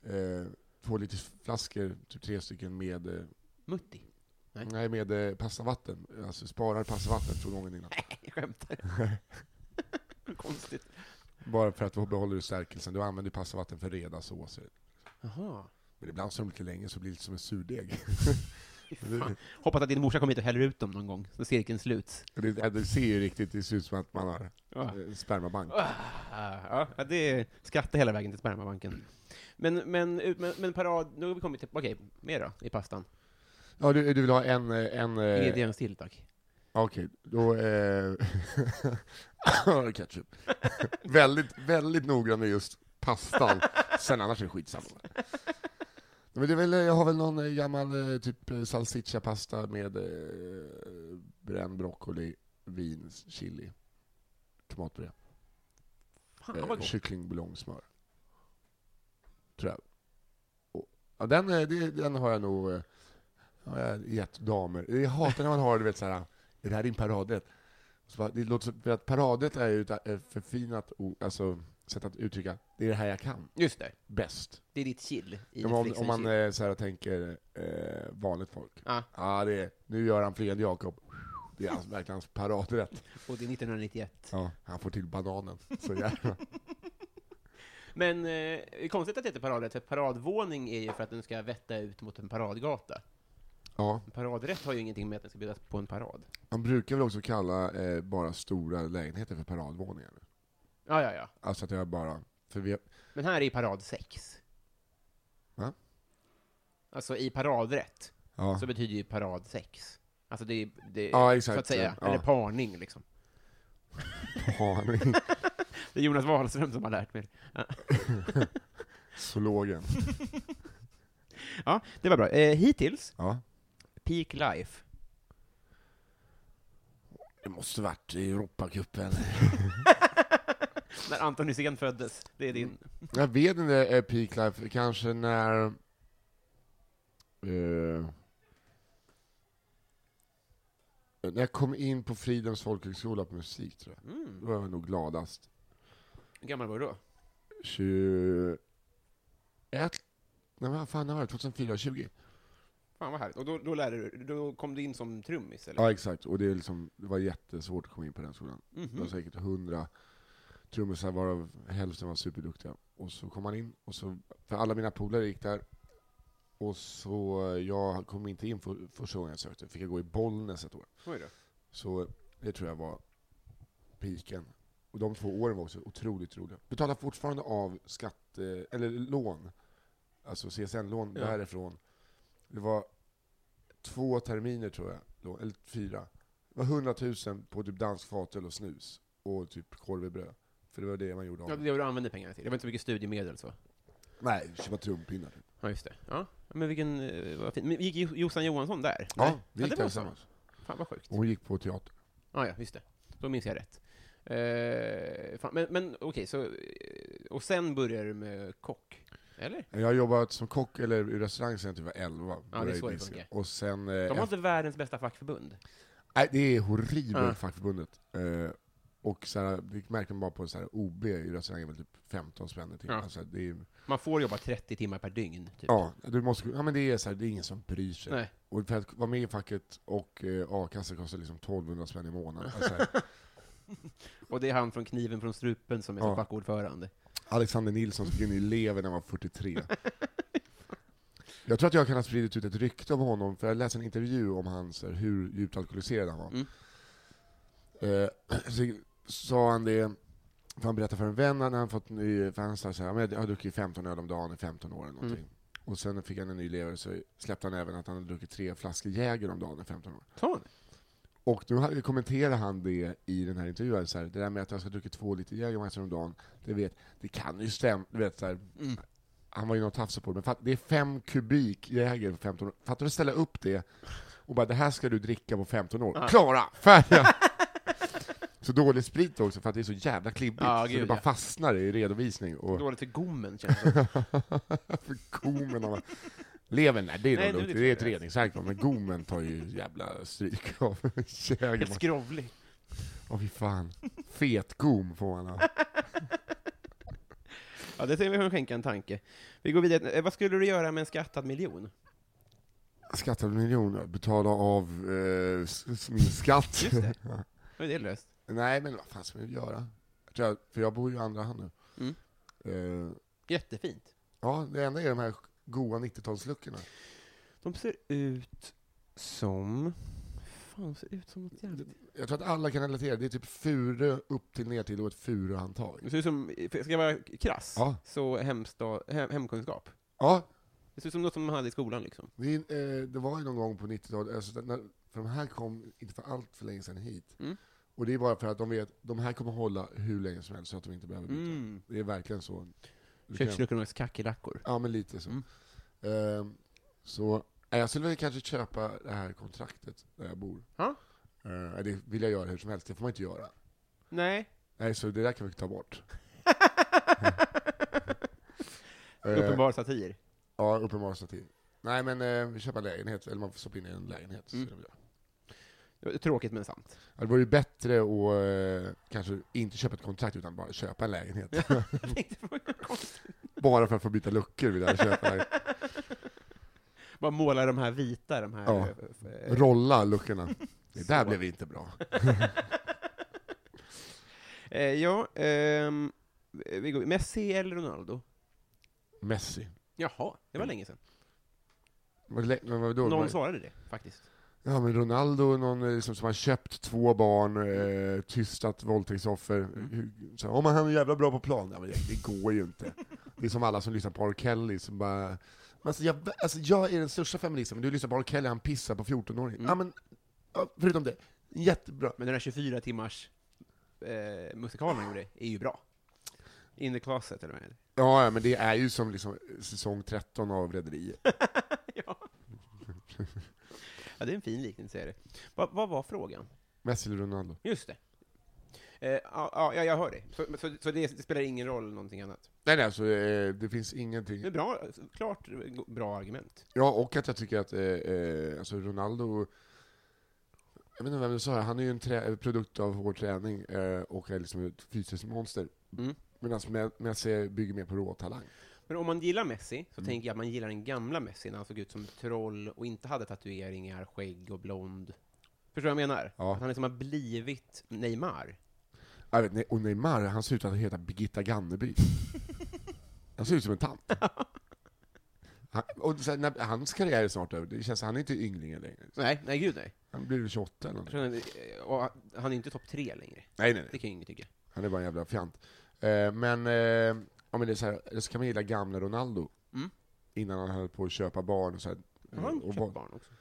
Speaker 2: eh, två liter flaskor, typ tre stycken, med, eh,
Speaker 1: Mutti? Nej.
Speaker 2: nej, med eh, pastavatten. Alltså sparar pastavatten från gången innan.
Speaker 1: Jag skämtar. konstigt.
Speaker 2: Bara för att du behåller stärkelsen. Du använder ju passavatten för reda såser.
Speaker 1: Jaha.
Speaker 2: Men ibland så är de lite längre så blir det lite som en surdeg.
Speaker 1: Fan. Hoppas att din morsa kommer hit och häller ut dem någon gång, så cirkeln sluts.
Speaker 2: det, det- det ser ju riktigt det ser ut som att man har
Speaker 1: Ja.
Speaker 2: eh, spermabank.
Speaker 1: Ah, ja, det är skratta hela vägen till spermabanken. Men, men, men, men parad, nu har vi kommit till, okej, mer då, i pastan?
Speaker 2: Ja, du, du vill ha en... eh, en eh,
Speaker 1: Ingrediens till, tack.
Speaker 2: Okej, då... Eh, ketchup. väldigt, väldigt noggrann med just pastan. Sen annars är det skitsamma. Men det är väl, jag har väl någon eh, gammal eh, typ eh, salsiccia-pasta med eh, bränd broccoli, vin, chili, tomatpuré,
Speaker 1: Fan, vad
Speaker 2: eh,
Speaker 1: gott.
Speaker 2: kycklingbulongsmör. Tror jag. Och, ja, den, eh, det, den har jag nog eh, har jag gett damer. Jag hatar när man har du vet så här, är det här din paradrätt? Så bara, det låter, som- för att paradrätt är ju ett eh, förfinat o- alltså, sätt att uttrycka, det är det här jag kan
Speaker 1: Just det,
Speaker 2: bäst.
Speaker 1: det är ditt chill i
Speaker 2: Ja, men om,
Speaker 1: Netflix
Speaker 2: om man
Speaker 1: chill.
Speaker 2: eh, så här, tänker eh, vanligt folk.
Speaker 1: Ja,
Speaker 2: Ja, det är, nu gör han fred Jakob. Det är hans, verkligen hans paradrätt.
Speaker 1: och det är 1991.
Speaker 2: Han får till bananen. Så jävla.
Speaker 1: Men eh, det är konstigt att det heter paradrätt, för paradvåning är ju för att den ska vetta ut mot en paradgata.
Speaker 2: Ja,
Speaker 1: En paradrätt har ju ingenting med att den ska bjudas på en parad.
Speaker 2: man brukar väl också kalla eh, bara stora lägenheter för paradvåningar.
Speaker 1: Ja, ja, ja.
Speaker 2: Alltså att jag bara, för vi,
Speaker 1: Men här är ju parad 6.
Speaker 2: Va?
Speaker 1: Alltså i paradrätt,
Speaker 2: ja.
Speaker 1: så betyder ju parad 6. Alltså det är, det är
Speaker 2: Ja,
Speaker 1: så att
Speaker 2: exakt.
Speaker 1: säga,
Speaker 2: Ja.
Speaker 1: eller parning liksom.
Speaker 2: Aning.
Speaker 1: Det är Jonas Wahlström som har lärt mig det.
Speaker 2: Zoologen.
Speaker 1: Ja, det var bra. Eh, hittills,
Speaker 2: Ja.
Speaker 1: peak life.
Speaker 2: Det måste varit i Europacupen.
Speaker 1: När Anton Hysén föddes, det är din...
Speaker 2: Jag vet inte, eh, Peak Life, kanske när... Eh, när jag kom in på Fridhems folkhögskola på musik, tror jag. Då
Speaker 1: Mm.
Speaker 2: var jag nog gladast.
Speaker 1: Hur gammal var du då?
Speaker 2: 21... Nej, men vad fan, när var det? 2004? 20?
Speaker 1: Fan vad härligt. Och då, då lärde du, då kom du in som trummis, eller?
Speaker 2: Ja, exakt. Och det, är liksom, det var jättesvårt att komma in på den skolan. Det var
Speaker 1: Mhm.
Speaker 2: säkert hundra trummisar varav hälften var superduktiga. Och så kom man in, och så, för alla mina polare gick där. Och så, jag kom inte in för, första gången jag sökte, fick jag gå i Bollnäs ett år.
Speaker 1: Oj då.
Speaker 2: Så det tror jag var piken. Och de två åren var också otroligt roliga. Betalar fortfarande av skatte, eller lån, alltså CSN-lån
Speaker 1: Ja.
Speaker 2: därifrån. Det var två terminer tror jag, då, eller fyra. Det var 100 000 på typ dansk fatöl och snus, och typ korv i bröd. För det var det man gjorde av
Speaker 1: Ja, det var det du använde pengarna till. Det var inte så mycket studiemedel så.
Speaker 2: Nej, köpa trumpinnar. typ.
Speaker 1: Ja, just det. Ja, men vilken... eh, Vad fint. Men gick Jo- Jossan Johansson där? Nej.
Speaker 2: Ja, vi
Speaker 1: Ja,
Speaker 2: gick
Speaker 1: det
Speaker 2: där
Speaker 1: var så.
Speaker 2: tillsammans.
Speaker 1: Fan vad sjukt.
Speaker 2: Och hon gick på teater.
Speaker 1: Ja, ja, just det. Då minns jag rätt. Eh, fan, men men okej, så... eh, Och sen börjar du med kock? Eller?
Speaker 2: Jag har jobbat som kock, eller i restaurang sen jag typ var 11.
Speaker 1: det är
Speaker 2: Började i
Speaker 1: så det
Speaker 2: disken.
Speaker 1: funkar.
Speaker 2: Och sen... eh,
Speaker 1: De har inte världens bästa fackförbund.
Speaker 2: Nej, det är horribelt,
Speaker 1: Ja.
Speaker 2: fackförbundet. Eh, och så här, det märkte man bara på så här, OB i restaurangen, väl typ 15 spänn i timmen.
Speaker 1: Ja.
Speaker 2: Alltså, det är,
Speaker 1: Man får jobba 30 timmar per dygn, typ.
Speaker 2: ja, du måste, ja, men det är så här, det är ingen som bryr sig.
Speaker 1: Nej.
Speaker 2: Och för att vara med i facket och eh, a-kassa kostar liksom 1200 spänn i månaden. Alltså,
Speaker 1: Och det är han från Kniven från strupen som är som
Speaker 2: Ja.
Speaker 1: fackordförande.
Speaker 2: Alexander Nilsson sprang in i lever när han var 43. Jag tror att jag kan ha spridit ut ett rykte om honom, för jag läste en intervju om hans, hur djupt alkoholiserad han var.
Speaker 1: Mm.
Speaker 2: Eh, så sa han det, för han berättade för en vän när han fått ny, för han sa så här, "Ja, men jag har druckit 15 öl om dagen i 15 år eller någonting. Och sen fick han en ny lever, så släppte han även att han hade druckit tre flaskor Jäger om dagen i 15 år.
Speaker 1: Sa han?
Speaker 2: Och nu har- kommenterar han det i den här intervjun, så här, det där med att jag ska dricka två liter Jägermeister om dagen, det, vet, det kan ju stämma. Du vet, så här,
Speaker 1: Mm.
Speaker 2: Han var ju någon tafsig på det, men fatt, det är fem kubik Jäger på 15 år. Fattar du att ställa upp det och bara det här ska du dricka på 15 år. Klara! Färdiga! så dålig sprit också, för att det är så jävla klibbigt,
Speaker 1: Ja,
Speaker 2: så
Speaker 1: gud,
Speaker 2: det bara
Speaker 1: ja.
Speaker 2: fastnar i redovisning. Och
Speaker 1: Dåligt för gommen, känns det som.
Speaker 2: för gommen har man... Levern, nej, det är
Speaker 1: Nej, det
Speaker 2: nog
Speaker 1: är
Speaker 2: lugnt,
Speaker 1: lite
Speaker 2: det är ett
Speaker 1: svårare.
Speaker 2: reningsverk, men gommen tar ju jävla stryk av
Speaker 1: Helt
Speaker 2: Jägermeister.
Speaker 1: skrovlig.
Speaker 2: Åh fy fan. Fetgom får man ha.
Speaker 1: Ja, det ser vi hur skänka en tanke. Vi går vidare. Eh, Vad skulle du göra med en skattad miljon?
Speaker 2: Skattad miljon, betala av eh, s- s- min skatt.
Speaker 1: Just det. Nu är det löst.
Speaker 2: Nej men vad fan ska man göra? hjärta, för jag bor ju i andra hand nu.
Speaker 1: Mm.
Speaker 2: Eh,
Speaker 1: Jättefint.
Speaker 2: ja, det enda är de här goa 90-talsluckorna.
Speaker 1: De ser ut som... Fan, de ser ut som något jävligt...
Speaker 2: Jag tror att alla kan relatera, det är typ furu upp till ner till och ett furuhandtag.
Speaker 1: Det ser ut som, ska jag vara krass,
Speaker 2: Ja.
Speaker 1: så hemsta, hem, hemkunskap.
Speaker 2: Ja,
Speaker 1: Det ser ut som något som man hade i skolan liksom.
Speaker 2: det, är, eh, det var ju någon gång på 90-talet, alltså, när, för de här kom inte för allt för länge sedan hit.
Speaker 1: Mm.
Speaker 2: Och det är bara för att de vet, de här kommer hålla hur länge som helst så att de inte behöver byta.
Speaker 1: Mm.
Speaker 2: Det är verkligen så. Du kan-
Speaker 1: Köksluckornas kackerlackor.
Speaker 2: Ja, men lite så.
Speaker 1: Mm.
Speaker 2: Ehm, så nej, jag skulle väl kanske köpa det här kontraktet där jag bor.
Speaker 1: Ja.
Speaker 2: Ehm, det vill jag göra hur som helst, det får man inte göra.
Speaker 1: Nej.
Speaker 2: Nej, så det där kan vi ta bort.
Speaker 1: Eh.
Speaker 2: Ehm,
Speaker 1: Uppenbar satir.
Speaker 2: Ja, uppenbar satir. Nej, men eh, vi köper en lägenhet, eller man får stoppa in i en lägenhet. så
Speaker 1: Mm.
Speaker 2: är det väl det.
Speaker 1: Det var Tråkigt men sant.
Speaker 2: Ja, Det vore ju bättre att eh, kanske inte köpa ett kontrakt, utan bara köpa en lägenhet.
Speaker 1: Jag tänkte det var ju konstigt.
Speaker 2: bara för att få byta luckor vill jag köpa.
Speaker 1: Bara måla de här vita, de här...
Speaker 2: Ja.
Speaker 1: eh, eh,
Speaker 2: Rolla luckorna. Det där
Speaker 1: Så.
Speaker 2: blev inte bra.
Speaker 1: eh, ja, ehm, vi går. Messi eller Ronaldo?
Speaker 2: Messi.
Speaker 1: Jaha, det var länge sedan.
Speaker 2: Var det lä- men vadå?
Speaker 1: Någon svarade det, faktiskt.
Speaker 2: Ja, men Ronaldo, är någon eh, liksom, som har köpt två barn, eh, tystat våldtäktsoffer. Hur- Så, om han är jävla bra på plan. Ja, men det, det går ju inte. Det är som alla som lyssnar på R. Kelly som bara... "Men Alltså, jag, alltså, jag är den största feministen, men du lyssnar på R. Kelly, han pissar på 14-åringar.
Speaker 1: Mm.
Speaker 2: Ja, men ja, förutom det. Jättebra.
Speaker 1: Men den här 24 timmars eh, musikalen han gjorde är ju bra. In the closet, eller vad är det?
Speaker 2: Ja, ja, men det är ju som liksom, säsong 13 av Rederiet.
Speaker 1: ja. ja, det är en fin liknelse. Är det. Va, vad var frågan?
Speaker 2: Messi eller Ronaldo?
Speaker 1: Just det. Eh, ja, ja, jag hör dig. Så, så, så det spelar ingen roll någonting annat.
Speaker 2: Nej, nej, alltså, eh, det finns
Speaker 1: Det är
Speaker 2: ingenting.
Speaker 1: bra, klart eh, bra argument.
Speaker 2: Ja, och att jag tycker att eh, eh, alltså Ronaldo, jag vet inte vem du sa, det, han är ju en trä, eh, produkt av hård träning eh, och är liksom ett fysiskt monster.
Speaker 1: Mm.
Speaker 2: Medan Me- Messi bygger mer på råtalang.
Speaker 1: Men om man gillar Messi, så tänker jag att man gillar den gamla Messi när han såg ut som ett troll och inte hade tatueringar, skägg och blond. Förstår du vad jag menar?
Speaker 2: Ja.
Speaker 1: Att han liksom har blivit Neymar.
Speaker 2: Jag Ah, vet, ne- och Neymar, han ser ut att heta Birgitta Ganneby. han ser ut som en tant. Han, och sen, när, hans karriär är snart över, det känns han är inte ynglingen längre.
Speaker 1: Nej, nej gud nej.
Speaker 2: Han blir väl 28 eller
Speaker 1: Jag
Speaker 2: någonting.
Speaker 1: tror han, eh, och han är inte topp tre längre.
Speaker 2: Nej, nej,
Speaker 1: Det
Speaker 2: nej.
Speaker 1: kan jag inte tycka.
Speaker 2: Han är bara en jävla fjant. Eh, men, eh, ja, men det är så, här, eller så kan man gilla gamla Ronaldo.
Speaker 1: Mm.
Speaker 2: Innan han höll på att köpa barn och så här, eh,
Speaker 1: Har han
Speaker 2: och
Speaker 1: köpt
Speaker 2: barn.
Speaker 1: barn också?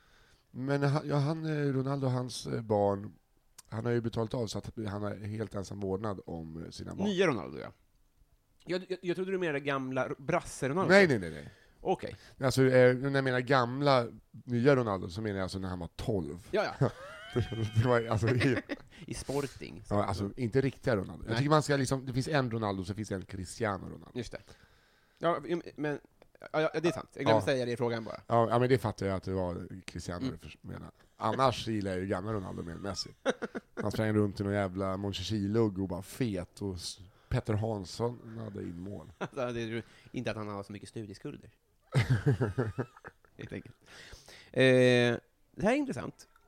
Speaker 2: Men han, ja, han, eh, Ronaldo och hans eh, barn, han har ju betalat av så att han har helt ensam vårdnad om eh, sina barn.
Speaker 1: Nya Ronaldo, ja. Jag, jag, jag trodde du menade gamla r- brasse-Ronaldo.
Speaker 2: Nej, nej, nej. nej.
Speaker 1: Okej.
Speaker 2: Alltså, eh, när jag menar gamla, nya Ronaldo så menar jag alltså när han var 12.
Speaker 1: Ja, ja.
Speaker 2: det var, alltså, i-
Speaker 1: I Sporting.
Speaker 2: ja, alltså, inte riktiga Ronaldo.
Speaker 1: Nej.
Speaker 2: Jag tycker man ska liksom, det finns en Ronaldo, så finns det en Cristiano Ronaldo.
Speaker 1: Just det. Ja, men... Ja, ja, det är sant. Jag glömde
Speaker 2: Ja.
Speaker 1: säga det i frågan bara.
Speaker 2: Ja, ja, men det fattar jag att det var Cristiano
Speaker 1: Mm.
Speaker 2: du förs- menar. Annars gillar jag ju gamla Ronaldo mer än Messi. Han sprang runt i någon jävla Monchichilugg och bara fet, och s- Petter Hansson hade in mål.
Speaker 1: Alltså, det är ju inte att han har så mycket studieskulder. Helt enkelt. Eh, det här är intressant.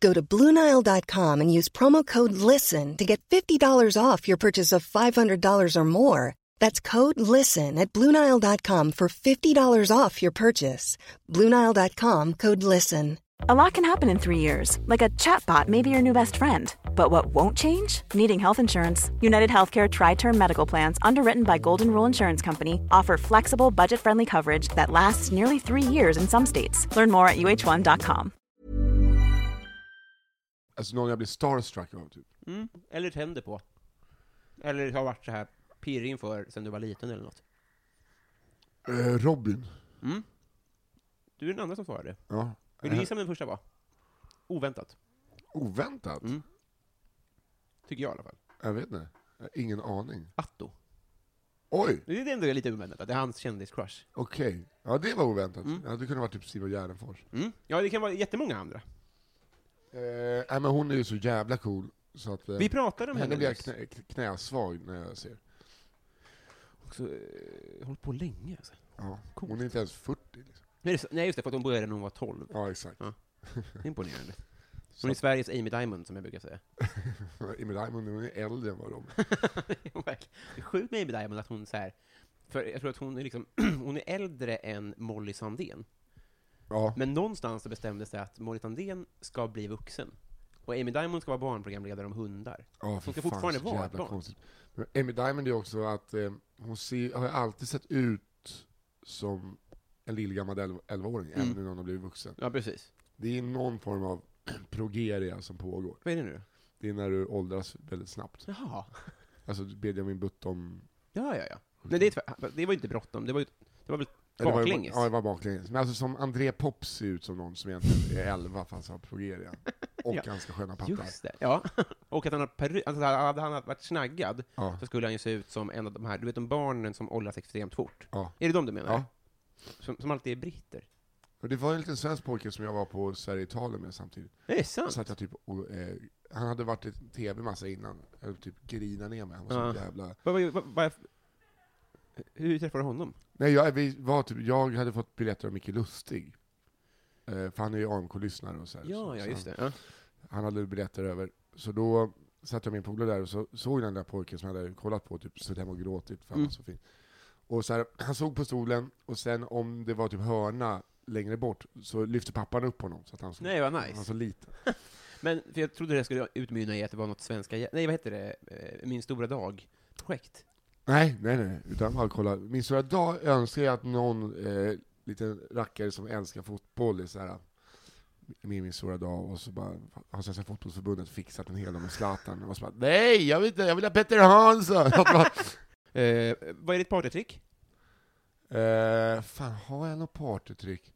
Speaker 3: Go to Bluenile.com and use promo code LISTEN to get $50 off your purchase of $500 or more. That's code LISTEN at Bluenile.com for $50 off your purchase. Bluenile.com code LISTEN.
Speaker 4: A lot can happen in three years, like a chatbot may be your new best friend. But what won't change? Needing health insurance. United Healthcare Tri Term Medical Plans, underwritten by Golden Rule Insurance Company, offer flexible, budget friendly coverage that lasts nearly three years in some states. Learn more at uh1.com.
Speaker 2: Alltså någon jag blir starstruck av, typ.
Speaker 1: Mm. Eller tänder på. Eller har varit så här pirrig inför sen du var liten eller något.
Speaker 2: Eh, Robin.
Speaker 1: Mm. Du är den andra som svarade.
Speaker 2: Ja.
Speaker 1: Vill du
Speaker 2: Eh,
Speaker 1: gissa vem den första var? Oväntat.
Speaker 2: Oväntat?
Speaker 1: Mm. Tycker jag i alla fall.
Speaker 2: Jag vet inte. Jag har ingen aning.
Speaker 1: Atto.
Speaker 2: Oj,
Speaker 1: Det är ändå lite oväntat, att det är hans kändiscrush.
Speaker 2: okej. Ja, det var oväntat. Ja, det kunde varit typ Simon Gärdenfors.
Speaker 1: Mm. Ja, det kan vara jättemånga andra.
Speaker 2: Eh, nej, men hon är ju så jävla cool. Så att, eh,
Speaker 1: Vi pratade om henne
Speaker 2: henne blir jag
Speaker 1: nyss.
Speaker 2: knä, knäsvag när jag ser.
Speaker 1: Också, eh, hållit på länge alltså.
Speaker 2: Ja. Hon är inte ens 40. Liksom.
Speaker 1: Nej, det är så- Nej, just det, för att hon började när hon var 12.
Speaker 2: Ja, exakt.
Speaker 1: Ja. Det är imponerande. Hon är Sveriges Amy Diamond, som jag brukar säga.
Speaker 2: Amy Diamond, hon är äldre än vad de är.
Speaker 1: Hon verkar- det är sjukt med Amy Diamond att hon så här, för jag tror att hon är, liksom, hon är äldre än Molly Sandén.
Speaker 2: Ja.
Speaker 1: Men någonstans så bestämdes det att Molly Sandén ska bli vuxen. Och Amy Diamond ska vara barnprogramledare om hundar.
Speaker 2: Ja,
Speaker 1: Hon
Speaker 2: för
Speaker 1: ska
Speaker 2: fan,
Speaker 1: fortfarande
Speaker 2: så
Speaker 1: vara ett
Speaker 2: jävla
Speaker 1: barn.
Speaker 2: konstigt. Men Amy Diamond är också att eh, hon ser, har ju alltid sett ut som en lillgammal elv- 11-åring, även
Speaker 1: Mm.
Speaker 2: när hon har blivit vuxen.
Speaker 1: Ja, precis.
Speaker 2: Det är någon form av progeria som pågår.
Speaker 1: Vad är det nu då?
Speaker 2: Det är när du åldras väldigt snabbt.
Speaker 1: Jaha.
Speaker 2: Alltså Benjamin Button...
Speaker 1: Ja, ja, ja. Nej, det, är tvär- det var ju inte bråttom. Det var, ju, det var väl
Speaker 2: Ja, det var ju-
Speaker 1: baklänges?
Speaker 2: Ja, det var baklänges. Men alltså som André Pop ser ut som någon som egentligen är 11 fast har progeria. Och
Speaker 1: Ja.
Speaker 2: ganska sköna pattar.
Speaker 1: Just det. Ja. Och att han har peru- alltså, hade han varit snaggad
Speaker 2: Ja.
Speaker 1: så skulle han ju se ut som en av de här, du vet de barnen som åldras extremt fort.
Speaker 2: Ja.
Speaker 1: Är det de du menar?
Speaker 2: ja.
Speaker 1: Som, som alltid är britter?
Speaker 2: Och det var en liten svensk pojke som jag var på Sverige-Italien med samtidigt.
Speaker 1: Är det sant?
Speaker 2: Så att jag typ, och, eh, han hade varit i tv massa innan. Jag höll typ grina ner mig. Han var så
Speaker 1: Ja.
Speaker 2: jävla...
Speaker 1: Vad- vad- vad- vad- hur träffade du honom?
Speaker 2: Nej, jag, vi var typ, jag hade fått biljetter av Micke Lustig. Eh, för han är ju AMK-lyssnare och så här. så,
Speaker 1: Ja, ja,
Speaker 2: så
Speaker 1: just
Speaker 2: han,
Speaker 1: det. Ja.
Speaker 2: han hade biljetter över. Så då satt jag med min polare där och så såg den där pojken som jag hade kollat på, typ suttit hemma och gråtit, för han
Speaker 1: Mm.
Speaker 2: var så fin. Och så här, han såg på stolen, och sen om det var typ hörna längre bort, så lyfte pappan upp honom. Så att han såg,
Speaker 1: Nej, vad nice.
Speaker 2: Han var så liten.
Speaker 1: Men, för jag trodde det skulle utmynna i att det var något svenska, nej vad heter det, Eh, Min stora dag-projekt?
Speaker 2: Nej, nej, nej, nej. Utan bara kolla. Min stora dag önskar jag att någon eh, liten rackare som älskar fotboll är så här med min stora dag och så bara har Svenska fotbollsförbundet fixat en hel dag med Zlatan och så bara nej, jag vill inte, jag vill ha Petter Hansson! Och bara,
Speaker 1: Eh, vad är ditt partytrick?
Speaker 2: eh, fan, har jag något partytrick?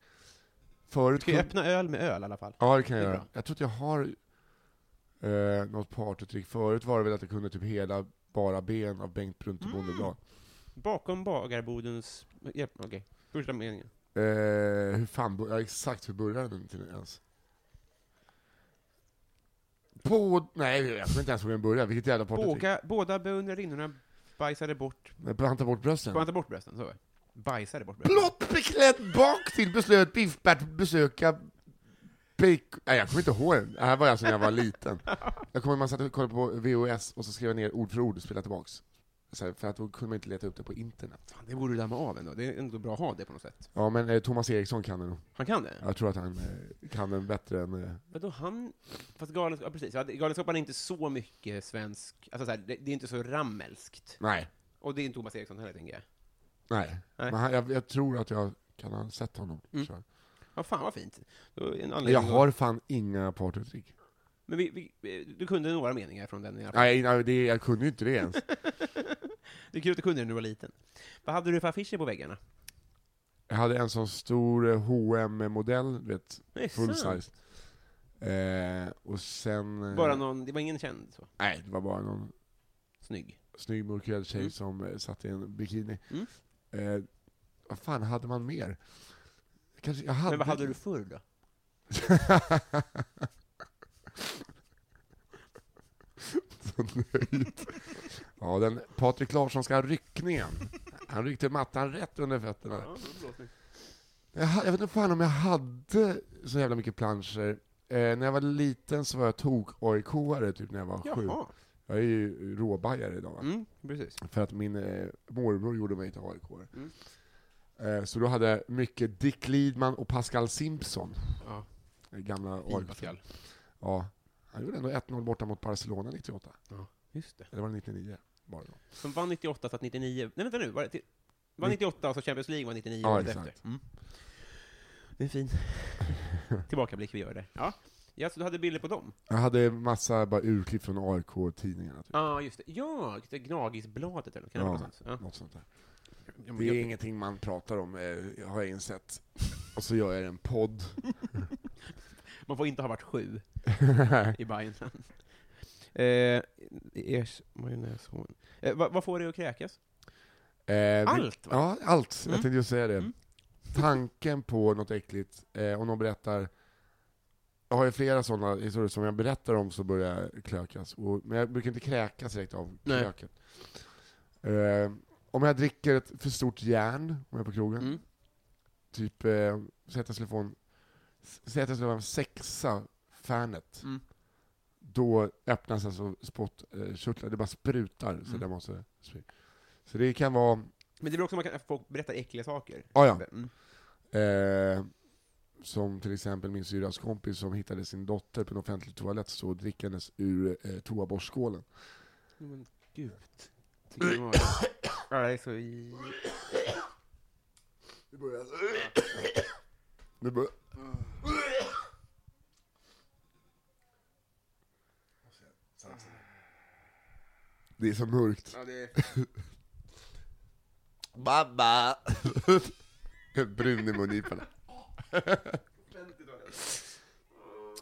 Speaker 2: Förut
Speaker 1: Ska jag
Speaker 2: kunde-
Speaker 1: öppna öl med öl i alla fall?
Speaker 2: Ja, det kan jag
Speaker 1: Det är
Speaker 2: göra.
Speaker 1: bra.
Speaker 2: Jag tror att jag har eh, något partytrick. Förut var det väl att jag kunde typ hela bara ben av Bengt Brunte
Speaker 1: Mm.
Speaker 2: Bondeblad.
Speaker 1: Bakom bagarbodens... Ja, Okej, första meningen.
Speaker 2: Eh, hur fan, bör- ja, exakt hur började den till ens? På, nej, jag kommer inte ens ihåg hur den började. Vilket jävla partytrick.
Speaker 1: Båga, båda beundrarinnorna bajsade bort...
Speaker 2: Men Branta bort brösten.
Speaker 1: Får jag ta bort brösten? Så var det. Bajsade bort brösten.
Speaker 2: Blått beklädd bak till beslöt Biff-Bert besöka Bake... Nej, jag kommer inte ihåg den. Det här var alltså när jag var liten. Jag kommer ihåg att man satt och kollade på VHS och så skrev jag ner ord för ord och spelade tillbaks. Så här, för att då kunde man inte leta upp det på internet.
Speaker 1: Fan, det borde du damma av ändå. Det är ändå bra att ha det på något sätt.
Speaker 2: Ja, men eh, Thomas Eriksson kan den nog.
Speaker 1: Han kan det?
Speaker 2: Jag tror att han eh, kan den bättre än... Eh,
Speaker 1: Vadå, han... Fast galenskap, ja, precis. Ja, det- Galenskaparna är inte så mycket svensk... Alltså så här, det, det är inte så rammelskt.
Speaker 2: nej.
Speaker 1: Och det är inte Thomas Eriksson heller, tänker jag.
Speaker 2: Nej.
Speaker 1: Nej.
Speaker 2: Men han, jag, jag tror att jag kan ha sett honom.
Speaker 1: Mm.
Speaker 2: tror jag.
Speaker 1: Ja, fan vad fint. Då är en
Speaker 2: Men jag
Speaker 1: anledning att-
Speaker 2: har fan inga partytrick.
Speaker 1: Men vi, vi, vi- eh, du kunde några meningar från den i alla fall.
Speaker 2: Nej, nej det, jag kunde ju inte det ens.
Speaker 1: Det är kul att du kunde den när du var liten. Vad hade du för affischer på väggarna?
Speaker 2: Jag hade en sån stor eh, hm modell du vet,
Speaker 1: Nej,
Speaker 2: full
Speaker 1: sant.
Speaker 2: size. Eh, och sen... eh,
Speaker 1: Bara någon, det var ingen känd så.
Speaker 2: Nej, det var bara någon
Speaker 1: Snygg.
Speaker 2: snygg mörkhyad tjej
Speaker 1: Mm.
Speaker 2: som eh, satt i en bikini.
Speaker 1: Mm.
Speaker 2: Eh, vad fan hade man mer? Kanske, jag hade...
Speaker 1: Men vad hade du förr då?
Speaker 2: Ja, den Patrik Larsson ska ha ryckningen. Han ryckte mattan rätt under fötterna. Jag, ha- jag vet inte fan om jag hade så jävla mycket planscher. Eh, när jag var liten så var jag tok-AIK-are typ när jag var sju.
Speaker 1: Jaha.
Speaker 2: Jag är ju råbajare idag. va?
Speaker 1: Mm, precis.
Speaker 2: För att min eh, morbror gjorde mig till AIK-are.
Speaker 1: Mm.
Speaker 2: Eh, så då hade jag mycket Dick Lidman och Pascal Simpson.
Speaker 1: Ja,
Speaker 2: eh, Gamla
Speaker 1: fin
Speaker 2: AIK.
Speaker 1: Pascal.
Speaker 2: Ja. Han gjorde ändå 1-0 borta mot Barcelona 98.
Speaker 1: Just det.
Speaker 2: Eller var det 99? Bara då.
Speaker 1: Som vann 98, satt 99. Nej, vänta nu. Var det till, var
Speaker 2: Ni-
Speaker 1: 98 och så Champions League var 99
Speaker 2: Ja,
Speaker 1: året
Speaker 2: exakt.
Speaker 1: efter. Mm. Det är en fin tillbakablick vi gör där. Ja. ja, så du hade bilder på dem?
Speaker 2: Jag hade massa bara urklipp från AIK-tidningarna. Typ.
Speaker 1: Ja, just det. Ja, det är Gnagisbladet eller något. Kan det
Speaker 2: Ja.
Speaker 1: vara något sånt? Ja.
Speaker 2: Något sånt där.
Speaker 1: Ja, men
Speaker 2: Det
Speaker 1: jag-
Speaker 2: är ingenting man pratar om, eh, har jag insett. Och så gör jag en podd.
Speaker 1: Man får inte ha varit sju
Speaker 2: Eh,
Speaker 1: i Bajenland. Eh, ers majonnäshorn. Eh, vad, vad får dig att kräkas?
Speaker 2: Eh, vi-
Speaker 1: Allt, va?
Speaker 2: Ja, allt.
Speaker 1: Mm.
Speaker 2: Jag tänkte just säga det.
Speaker 1: Mm.
Speaker 2: Tanken på något äckligt, eh, om någon berättar... Jag har ju flera sådana historier som jag berättar om så börjar jag klökas. Och, men jag brukar inte kräkas direkt av
Speaker 1: Nej.
Speaker 2: klöket. Eh, om jag dricker ett för stort järn, om jag är på krogen,
Speaker 1: Mm.
Speaker 2: typ, eh, säg att jag skulle få en, säg att jag skulle vara en sexa Fanet,
Speaker 1: Mm.
Speaker 2: då öppnas alltså spottkörtlar, det bara sprutar. Så,
Speaker 1: Mm.
Speaker 2: det måste, spy. så det kan vara,
Speaker 1: Men det blir också man kan, folk berättar äckliga saker.
Speaker 2: ah, ja,
Speaker 1: Mm.
Speaker 2: eh, som till exempel min syrras kompis som hittade sin dotter på en offentlig toalett så drickandes ur eh, toaborstskålen.
Speaker 1: Men gud. Tycker det var- Ja, det är så... i-
Speaker 2: Nu börjar Nu börjar Det är så mörkt.
Speaker 1: Ja, det är...
Speaker 2: Mamma! Brun i mungiporna.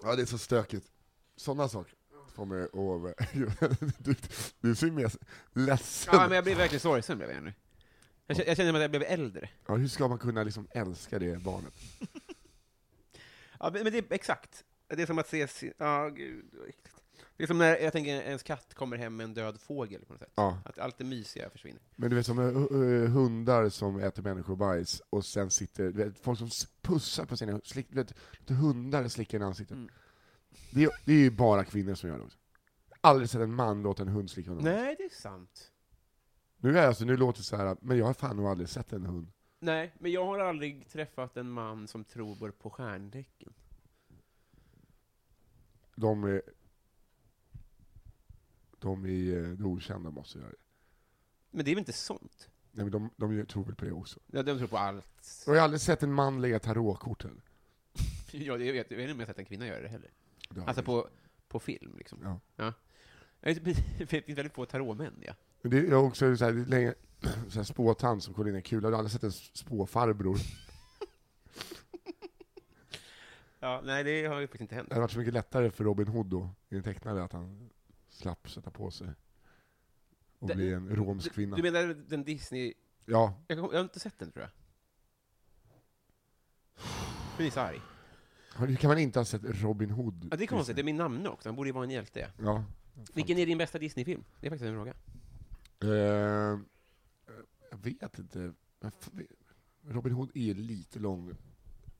Speaker 2: Ja, det är så stökigt. Sådana saker får mig att... Du, du ser mer ledsen
Speaker 1: Ja, men jag blev verkligen sorgsen blev jag nu. Jag känner, jag känner att jag blev äldre.
Speaker 2: Ja, hur ska man kunna liksom älska det barnet?
Speaker 1: Ja, men men det är exakt. Det är som att se... sin- Ja, gud, vad äckligt. Det är som när jag tänker ens katt kommer hem med en död fågel på något sätt.
Speaker 2: Ja.
Speaker 1: Att allt det mysiga försvinner.
Speaker 2: Men du vet som eh, eh, hundar som äter människobajs och sen sitter, du vet, folk som s- pussar på sina slick, du vet, du vet, hundar slickar en i ansiktet.
Speaker 1: Mm.
Speaker 2: Det, är- det är ju bara kvinnor som gör det också. Aldrig sett en man låta en hund slicka honom.
Speaker 1: Nej, det är sant.
Speaker 2: Nu, är jag, alltså, nu låter det så här, men jag har fan nog aldrig sett en hund.
Speaker 1: Nej, men jag har aldrig träffat en man som tror på stjärntecken.
Speaker 2: De är... De är eh, det okända måste göra det.
Speaker 1: Men det är väl inte sånt?
Speaker 2: Nej men de, de gör- tror väl på det också.
Speaker 1: Ja, de tror på allt.
Speaker 2: Jag har aldrig sett en man lägga tarotkort heller.
Speaker 1: Ja, det- jag vet jag vet inte om jag har sett en kvinna göra det heller.
Speaker 2: Det har jag
Speaker 1: Alltså
Speaker 2: inte.
Speaker 1: på, på film, liksom.
Speaker 2: Ja.
Speaker 1: Jag vet- Det finns väldigt få tarotmän, ja.
Speaker 2: Men det är också så här, det är länge, så här spåtant som kollar in en kula. Du har aldrig sett en spåfarbror.
Speaker 1: ja. Nej, det har ju faktiskt inte hänt.
Speaker 2: Det hade varit så mycket lättare för Robin Hood då, i den tecknade, att han slapp sätta på sig och
Speaker 1: Det-
Speaker 2: bli en romsk
Speaker 1: Du,
Speaker 2: kvinna.
Speaker 1: du menar den Disney...
Speaker 2: Ja,
Speaker 1: Jag, kom- jag har inte sett den, tror jag. Men är så arg.
Speaker 2: hur kan man inte ha sett Robin Hood?
Speaker 1: Ja, det är konstigt, det är min namne också, han borde ju vara en hjälte.
Speaker 2: Ja.
Speaker 1: Vilken är din bästa Disney-film? Det är faktiskt en fråga.
Speaker 2: Eh, jag vet inte. Men fan, Robin Hood är lite lång.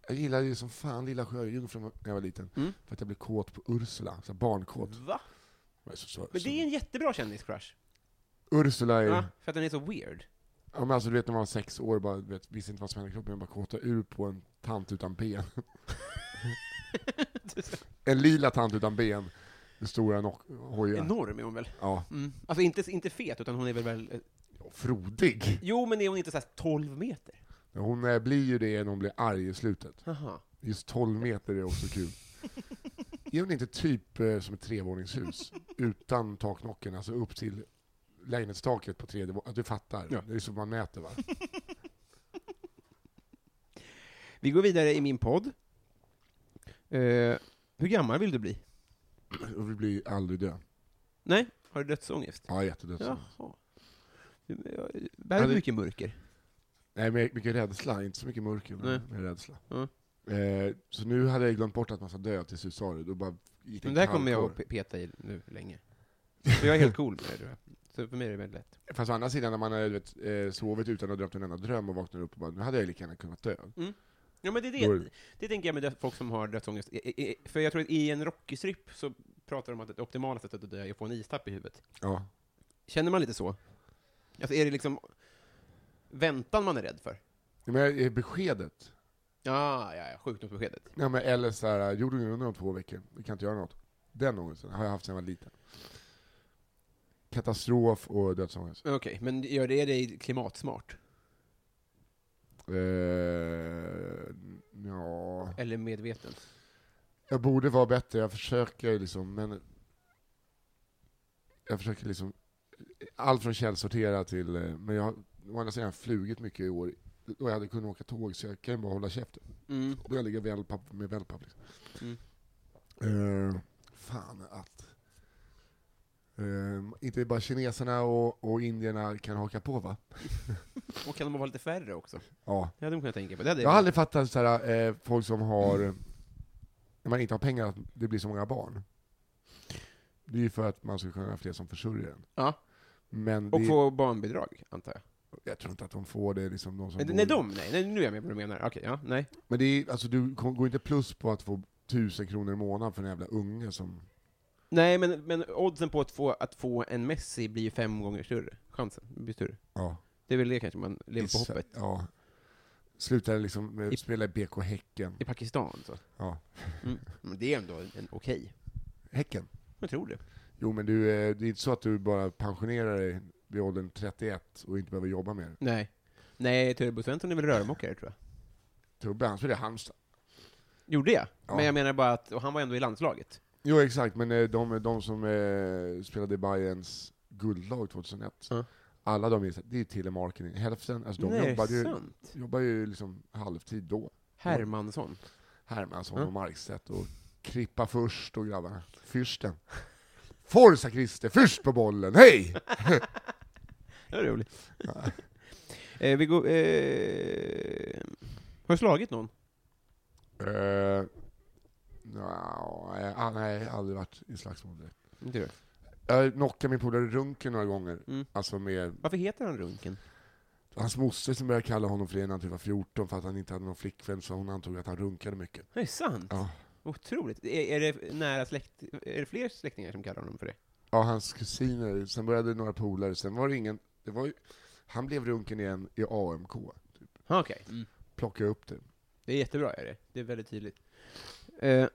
Speaker 2: Jag gillade ju som fan Lilla Sjöjungfrun när jag var liten,
Speaker 1: Mm.
Speaker 2: för att jag blev kåt på Ursula, så här barnkåt.
Speaker 1: Va?
Speaker 2: Jag är så- så-
Speaker 1: Men det är en jättebra kändiscrush.
Speaker 2: Ursula är...
Speaker 1: Ja, för att den är så weird.
Speaker 2: Ja men alltså du vet när man var sex år bara, du vet, visste inte vad som hände i kroppen, jag bara kåtade ur på en tant utan ben. en lila tant utan ben, med stora nock- hojar.
Speaker 1: Enorm är hon väl?
Speaker 2: Ja,
Speaker 1: Mm. Alltså inte, inte fet, utan hon är väl, väl...
Speaker 2: frodig.
Speaker 1: Jo, men är hon inte såhär 12 meter?
Speaker 2: Hon eh, blir ju det när hon blir arg i slutet.
Speaker 1: Aha.
Speaker 2: Just 12 meter är också kul. Är hon inte typ eh, som ett trevåningshus, utan taknocken, alltså upp till lägenhetstaket på tredje våningen? Du fattar,
Speaker 1: Ja.
Speaker 2: det är så man mäter va?
Speaker 1: Vi går vidare i min podd. Eh, hur gammal vill du bli?
Speaker 2: Och vi blir aldrig död.
Speaker 1: Nej, har du dödsångest?
Speaker 2: Ja, jättedöd.
Speaker 1: Jaha. alltså. Du, eh, Bär du
Speaker 2: det-
Speaker 1: mycket mörker?
Speaker 2: Nej, men mycket rädsla. Inte så mycket mörker, men
Speaker 1: Nej.
Speaker 2: mer rädsla.
Speaker 1: Ja.
Speaker 2: Eh, så nu hade jag glömt bort att man ska dö tills du sa det. Då bara gick
Speaker 1: Men
Speaker 2: en
Speaker 1: det här kommer jag
Speaker 2: kallkår.
Speaker 1: att pe- peta i nu länge. För jag är helt cool med det, tror jag. Så för mig är det väldigt lätt.
Speaker 2: Fast å andra sidan, när man har du vet, eh, sovit utan att ha drömt en enda dröm och vaknar upp och bara, nu hade jag lika gärna kunnat dö.
Speaker 1: Ja, men det, är
Speaker 2: Då är
Speaker 1: det,
Speaker 2: det-
Speaker 1: det tänker jag med död- folk som har dödsångest. I- i- i- För jag tror att i en rockiestripp så pratar de om att det optimala sättet att dö är att få en istapp i huvudet.
Speaker 2: Ja.
Speaker 1: Känner man lite så? Alltså är det liksom väntan man är rädd för?
Speaker 2: Men jag- eh, beskedet.
Speaker 1: Ja, ja, ja, sjukdomsbeskedet.
Speaker 2: Nej, men, eller så här, jorden är under om två veckor, vi kan inte göra något. Den ångesten har jag haft sedan jag var liten. Katastrof och dödsångest.
Speaker 1: Okej, men gör det dig klimatsmart?
Speaker 2: Eh, ja.
Speaker 1: Eller medveten?
Speaker 2: Jag borde vara bättre, jag försöker liksom, men... Jag försöker liksom... Allt från källsortera till... eh, Men jag har å andra sidan flugit mycket i år, och jag hade kunnat åka tåg så jag kan ju bara hålla käften.
Speaker 1: Mm.
Speaker 2: Då jag ligger wellpapp med wellpapp liksom.
Speaker 1: Mm.
Speaker 2: Eh, fan att... Ehm, inte bara kineserna och, och indierna kan haka på va?
Speaker 1: Och kan de vara lite färre också?
Speaker 2: Ja.
Speaker 1: Det hade man kunnat tänka på. Det hade
Speaker 2: Jag har aldrig fattat så här, eh, folk som har, när man inte har pengar, att det blir så många barn. Det är ju för att man ska kunna ha fler som försörjer en.
Speaker 1: Ja.
Speaker 2: Men
Speaker 1: Och
Speaker 2: det,
Speaker 1: få barnbidrag, antar jag.
Speaker 2: jag tror inte att de får det, liksom de som
Speaker 1: Men,
Speaker 2: bor-
Speaker 1: nej, de, nej, nej, nu är jag med på vad du menar. Okej, ja, nej.
Speaker 2: Men det är, alltså, du kom- går inte plus på att få tusen kronor i månaden för en jävla unge som...
Speaker 1: Nej, men, men oddsen på att få, att få en Messi blir ju fem gånger större. Chansen blir större.
Speaker 2: Ja,
Speaker 1: Det är väl det kanske man lever på
Speaker 2: gissa-
Speaker 1: hoppet.
Speaker 2: Ja. Slutar liksom med
Speaker 1: I-
Speaker 2: att spela i BK Häcken.
Speaker 1: I Pakistan, så.
Speaker 2: Ja.
Speaker 1: Mm. Men det är ändå en, en okej.
Speaker 2: Häcken?
Speaker 1: Jag tror det.
Speaker 2: Jo, men du, eh, det är inte så att du bara pensionerar dig vid åldern 31 och inte behöver jobba mer.
Speaker 1: Nej. Nej, Turbo Svensson är väl rörmokare, tror jag.
Speaker 2: Tubbe, han spelade i Halmstad.
Speaker 1: Gjorde jag?
Speaker 2: Ja.
Speaker 1: Men jag menar bara att, och han var ändå i landslaget.
Speaker 2: Jo, exakt, men eh, de, de som eh, spelade i Bayerns guldlag 2001,
Speaker 1: Ja.
Speaker 2: alla de är, så- det är telemarketing. Hälften, alltså de
Speaker 1: Nej,
Speaker 2: jobbar
Speaker 1: är det
Speaker 2: ju,
Speaker 1: sant?
Speaker 2: jobbar ju liksom halvtid då.
Speaker 1: Hermansson.
Speaker 2: Hermansson
Speaker 1: Ja.
Speaker 2: och Markstedt och Krippa först och grabbarna. Fürsten. Forza Christer, först på bollen, hej!
Speaker 1: Det var roligt. eh, vi går, eh, har du slagit någon?
Speaker 2: uh, no, eh, ah, nej, jag har aldrig varit i slagsmål direkt.
Speaker 1: Inte du?
Speaker 2: Jag knockade min polare Runken några gånger,
Speaker 1: Mm.
Speaker 2: alltså med
Speaker 1: Varför heter han Runken?
Speaker 2: hans moster som började kalla honom för det när han typ var 14 för att han inte hade någon flickvän, så hon antog att han runkade mycket.
Speaker 1: Det är sant?
Speaker 2: Ja.
Speaker 1: Otroligt. Är, är det nära släkt, är det fler släktingar som kallar honom för det?
Speaker 2: Ja, hans kusiner, sen började några polare, sen var det ingen, det var ju, han blev Runken igen i AMK.
Speaker 1: Ja, Okej. Mm.
Speaker 2: Plockade upp det.
Speaker 1: Det är jättebra, är det. Det är väldigt tydligt. Eh, eh,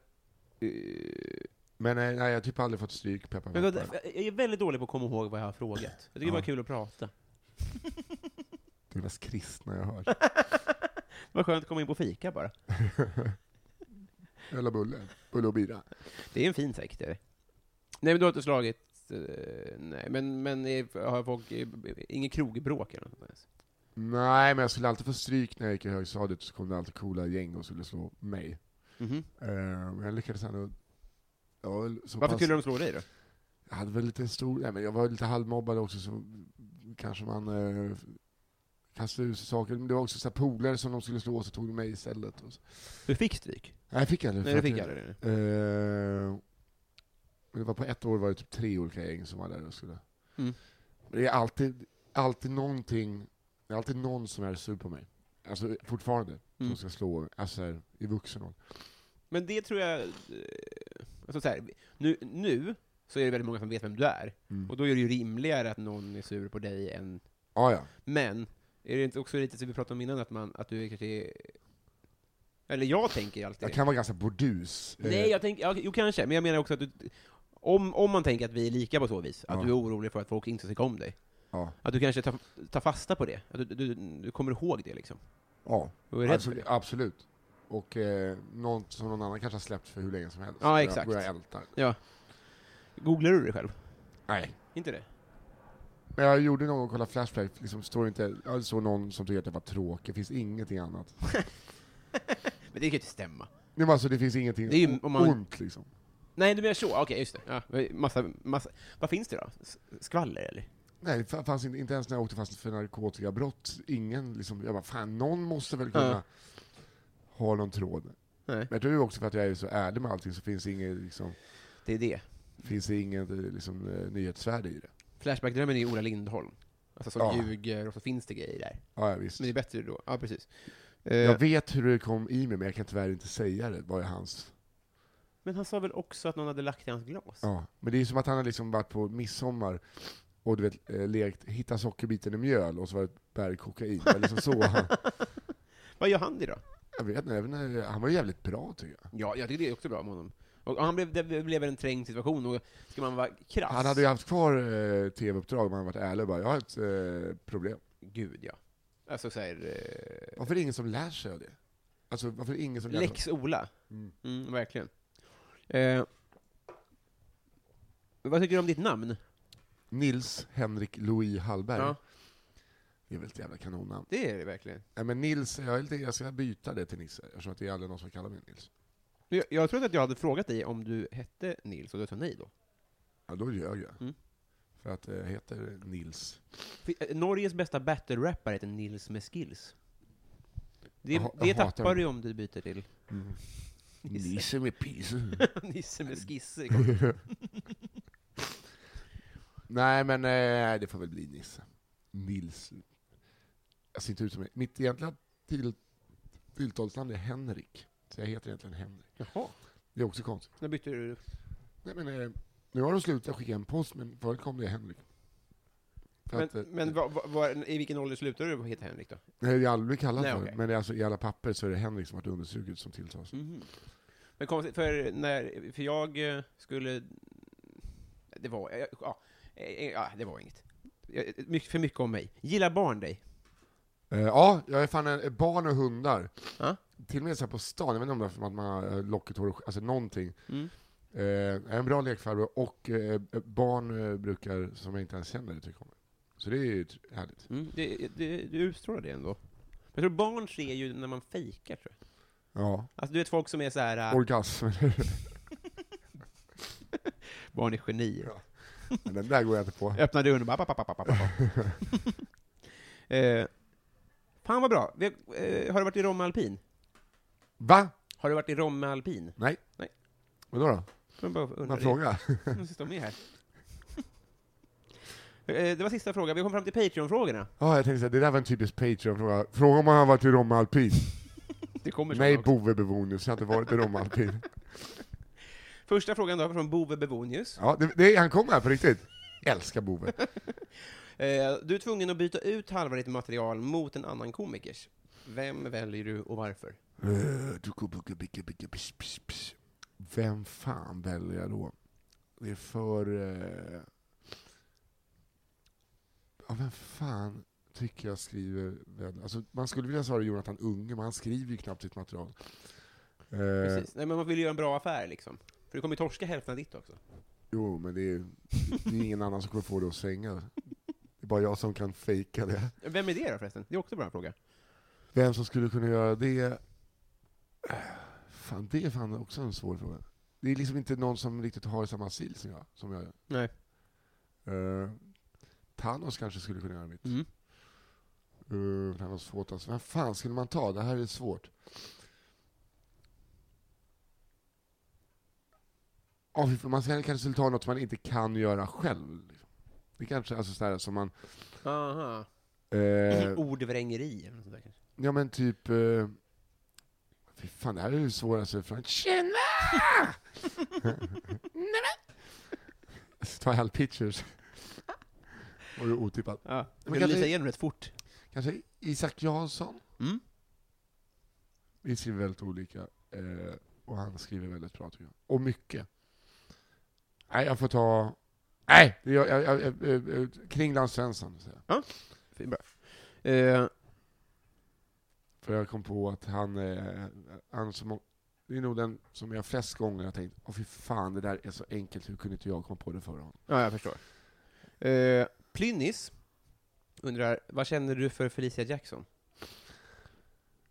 Speaker 2: Men nej, nej, jag har typ aldrig fått stryk, peppar,
Speaker 1: men vad-
Speaker 2: peppar.
Speaker 1: jag är väldigt dålig på att komma ihåg vad jag har frågat. Jag tycker det
Speaker 2: Ja.
Speaker 1: var kul att prata.
Speaker 2: Det är mest kristna jag har hört.
Speaker 1: Vad skönt att komma in på fika bara.
Speaker 2: Eller bulle. Bulle och bira.
Speaker 1: Det är en fin sekt, är det. Nej, men du har inte slagit... eh, nej, men, men är, har folk... eh, Inget krogbråk eller något sånt där? alltså.
Speaker 2: Nej, men jag skulle alltid få stryk när jag gick i högstadiet, så kom det alltid coola gäng och skulle slå mig.
Speaker 1: Mhm.
Speaker 2: Eh, Men jag lyckades ändå... Jag, var väl så
Speaker 1: Varför
Speaker 2: pass,
Speaker 1: skulle de slå dig då?
Speaker 2: jag hade väl lite stor... Nej, men jag var lite halvmobbad också, så kanske man eh, kastade ut saker. Men det var också så här polare som de skulle slå, så tog de mig istället. Och så.
Speaker 1: Du fick stryk? Mm.
Speaker 2: Nej, jag fick aldrig.
Speaker 1: Nej,
Speaker 2: för
Speaker 1: du
Speaker 2: att
Speaker 1: fick
Speaker 2: jag-
Speaker 1: aldrig det.
Speaker 2: Eh, men det var på ett år var det typ tre olika gäng som var där och skulle...
Speaker 1: Mm.
Speaker 2: Men det är alltid, alltid någonting, det är alltid någon som är sur på mig. Alltså fortfarande, som
Speaker 1: Mm.
Speaker 2: ska slå, alltså här, i vuxen ålder.
Speaker 1: Men det tror jag... eh, Alltså så här, nu, nu så är det väldigt många som vet vem du är,
Speaker 2: Mm.
Speaker 1: och då är det ju rimligare att någon är sur på dig än...
Speaker 2: Ah, ja.
Speaker 1: Men, är det inte också lite som vi pratade om innan, att, man, att du är kanske är... Eller jag tänker alltid
Speaker 2: Jag kan vara ganska burdus. Eh,
Speaker 1: Nej, jag tänker, ja, jo kanske, men jag menar också att du, om, om man tänker att vi är lika på så vis, att
Speaker 2: Ja.
Speaker 1: du är orolig för att folk inte tycker om dig,
Speaker 2: Ja.
Speaker 1: att du kanske tar, tar fasta på det, att du, du, du kommer ihåg det liksom,
Speaker 2: ja.
Speaker 1: och är rädd för
Speaker 2: Absolut.
Speaker 1: det.
Speaker 2: Alltså, absolut. Och eh, något som någon annan kanske har släppt för hur länge som helst.
Speaker 1: Ja,
Speaker 2: Och jag-
Speaker 1: exakt.
Speaker 2: Och jag ältar.
Speaker 1: Googlar du det själv?
Speaker 2: Nej.
Speaker 1: Inte det?
Speaker 2: Men jag gjorde någon gång kolla Flashback, liksom står inte, jag såg någon som tyckte att jag var tråkig, finns ingenting annat.
Speaker 1: Men det kan ju inte stämma.
Speaker 2: Nej, men alltså, det finns ingenting
Speaker 1: Det är ju- om man-
Speaker 2: ont liksom.
Speaker 1: Nej, du menar så? Okej, just det. Ja, massa, massa. Vad finns det då? S- Skvaller, eller?
Speaker 2: Nej, det fanns inte, inte ens när jag åkte fast för narkotikabrott. Ingen liksom, jag bara, fan någon måste väl kunna
Speaker 1: Ja.
Speaker 2: ha någon tråd.
Speaker 1: Nej,
Speaker 2: Men jag tror också för att jag är så ärlig med allting så finns det inget, liksom,
Speaker 1: det är det.
Speaker 2: finns det inget eh, liksom, eh, nyhetsvärde i det.
Speaker 1: Flashbackdrömmen är ju Ola Lindholm. Alltså som
Speaker 2: Ja.
Speaker 1: ljuger, och så finns det grejer där.
Speaker 2: Ja, ja, visst.
Speaker 1: Men det är bättre då. Ja, precis. Eh,
Speaker 2: Jag vet hur det kom i mig, men jag kan tyvärr inte säga det, vad är hans...
Speaker 1: Men han sa väl också att någon hade lagt i hans glas?
Speaker 2: Ja. Men det är som att han har liksom varit på midsommar och du vet, eh, lekt, hitta sockerbiten i mjöl och så var det ett berg kokain. Det var liksom så. Han,
Speaker 1: Vad gör han det då?
Speaker 2: jag vet inte, även när, han var jävligt bra tycker jag.
Speaker 1: Ja, jag tycker det är också bra med honom. Och han blev, det blev en trängd situation, och ska man vara krass...
Speaker 2: Han hade ju haft kvar eh, tv-uppdrag om han varit ärlig och bara, jag har ett eh, problem.
Speaker 1: Gud, ja. Alltså såhär... Eh,
Speaker 2: Varför är det ingen som lär sig av det? Alltså varför är det ingen som lär sig?
Speaker 1: Lex Ola.
Speaker 2: Mm.
Speaker 1: Mm, verkligen. Eh, vad tycker du om ditt namn?
Speaker 2: Nils Henrik Louis Hallberg.
Speaker 1: Ja,
Speaker 2: Det är väl ett jävla kanonnamn.
Speaker 1: det är det verkligen.
Speaker 2: Nej men Nils, jag, är lite, jag ska byta det till Nisse, eftersom att det är aldrig någon som kallar mig Nils.
Speaker 1: Jag, jag trodde att jag hade frågat dig om du hette Nils, och du sa nej då.
Speaker 2: Ja, då ljög jag.
Speaker 1: Mm.
Speaker 2: För att det heter Nils.
Speaker 1: Fi- eh, Norges bästa battle-rappare heter Nils med skills. Det,
Speaker 2: Jag ha- jag
Speaker 1: det
Speaker 2: hatar
Speaker 1: tappar
Speaker 2: dem.
Speaker 1: du om du byter till
Speaker 2: Nisse med pisen.
Speaker 1: Nisse med skisser.
Speaker 2: Nej, men eh, det får väl bli Nisse. Nils. Jag ser inte ut som... Mitt egentliga till, tilltalsnamn är Henrik. Så jag heter egentligen Henrik.
Speaker 1: Jaha,
Speaker 2: Det är också konstigt.
Speaker 1: när bytte du?
Speaker 2: Nej, men, eh, nu har de slutat skicka en post, men förut kom det Henrik. För
Speaker 1: Men,
Speaker 2: att, eh,
Speaker 1: men vad- vad- vad- i vilken ålder slutar du heta Henrik då?
Speaker 2: nej, det är aldrig kallat
Speaker 1: Nej,
Speaker 2: för,
Speaker 1: okej.
Speaker 2: men det är alltså, i alla papper så är det Henrik som varit understruket som tilltals.
Speaker 1: Mhm. Men kom, för, när, för jag eh, skulle... Det var... eh, Ja, eh, ja, det var inget. Jag- mycket- För mycket om mig. Gillar barn dig?
Speaker 2: Eh, ja, jag är fan en, barn och hundar.
Speaker 1: Ja.
Speaker 2: Till och med så här på stan, jag vet inte om det är för att man har lockigt hår, och sk- alltså någonting.
Speaker 1: Mm.
Speaker 2: Eh, jag är en bra lekfarbror, och eh, barn eh, brukar, som jag inte ens känner, tycka om mig. Så det är ju tr- härligt.
Speaker 1: Mm. Det, det, du utstrålar det ändå. Jag tror barn ser ju när man fejkar, tror jag.
Speaker 2: Ja,
Speaker 1: Alltså, du vet folk som är så här... eh,
Speaker 2: orgasm.
Speaker 1: barn är genier.
Speaker 2: Men Den där går jag inte på.
Speaker 1: Öppna dörren och bara... Pap, pap, pap, pap, pap. eh, fan vad bra. Vi, har- eh, har du varit i Romme Alpin?
Speaker 2: Va?
Speaker 1: Har du varit i Romme Alpin?
Speaker 2: Nej.
Speaker 1: Nej.
Speaker 2: Vadå då?
Speaker 1: Jag bara undrar
Speaker 2: Man
Speaker 1: det.
Speaker 2: frågar.
Speaker 1: Nu sitter de med här. Eh, Det var sista frågan. Vi kom fram till Patreon-frågorna.
Speaker 2: Ja, jag tänkte såhär, det där var en typisk Patreon-fråga. Fråga om man har varit i Romme Alpin.
Speaker 1: Det kommer
Speaker 2: Nej,
Speaker 1: såna också.
Speaker 2: Bove Bevonius, jag har inte varit i Romme Alpin.
Speaker 1: Första frågan då, från Bove Bevonius.
Speaker 2: Ja, det, det, han kom här på riktigt. Älskar Bove.
Speaker 1: Eh, Du är tvungen att byta ut halva ditt material mot en annan komikers. Vem väljer du och varför?
Speaker 2: Eh, du går- bugga, bugga, bugga, pss, pss, pss. Vem fan väljer jag då? Det är för... Eh... Ja, vem fan tycker jag skriver... väl? Alltså, man skulle vilja svara Jonathan Unge, men han skriver ju knappt sitt material. Eh,
Speaker 1: Precis. Nej, men man vill ju göra en bra affär liksom. För du kommer ju torska hälften av ditt också.
Speaker 2: Jo, men det är, det är ingen annan som kommer få det att svänga. Det är bara jag som kan fejka det.
Speaker 1: Vem är det då förresten? Det är också en bra fråga.
Speaker 2: Vem som skulle kunna göra det? Eh, Fan, det är fan också en svår fråga. Det är liksom inte någon som riktigt har samma stil som jag. Som jag.
Speaker 1: Nej.
Speaker 2: Eh, Thanos kanske skulle kunna göra mitt.
Speaker 1: Mm.
Speaker 2: Eh, Thanos Fotas. Vem fan skulle man ta? Det här är svårt. Ja, fy fan, man ska- kanske skulle ta något som man inte kan göra själv. liksom. Det kanske, alltså sådär som man...
Speaker 1: Aha.
Speaker 2: eh,
Speaker 1: Ordvrängeri eller något sånt där kanske.
Speaker 2: Ja men typ... Eh, fy fan, det här är det svåraste från... Tjena! Ta all pictures. Var det otippat.
Speaker 1: Ja. Du kan
Speaker 2: Men kanske-
Speaker 1: lysa igenom rätt fort.
Speaker 2: Kanske Isak Jansson?
Speaker 1: Mm.
Speaker 2: Vi skriver väldigt olika. Eh, och han skriver väldigt bra tycker jag. Och mycket. Nej, jag får ta... Nej! Jag, jag, jag, jag, jag, jag, Kringland Svensson, säger jag.
Speaker 1: Fin, bra. Eh,
Speaker 2: För jag kom på att han, eh, han som, det är nog den som jag flest gånger har tänkt, åh fy fan, det där är så enkelt, hur kunde inte jag komma på det förra honom?
Speaker 1: Ja, jag förstår. Eh, Plynnis undrar, vad känner du för Felicia Jackson?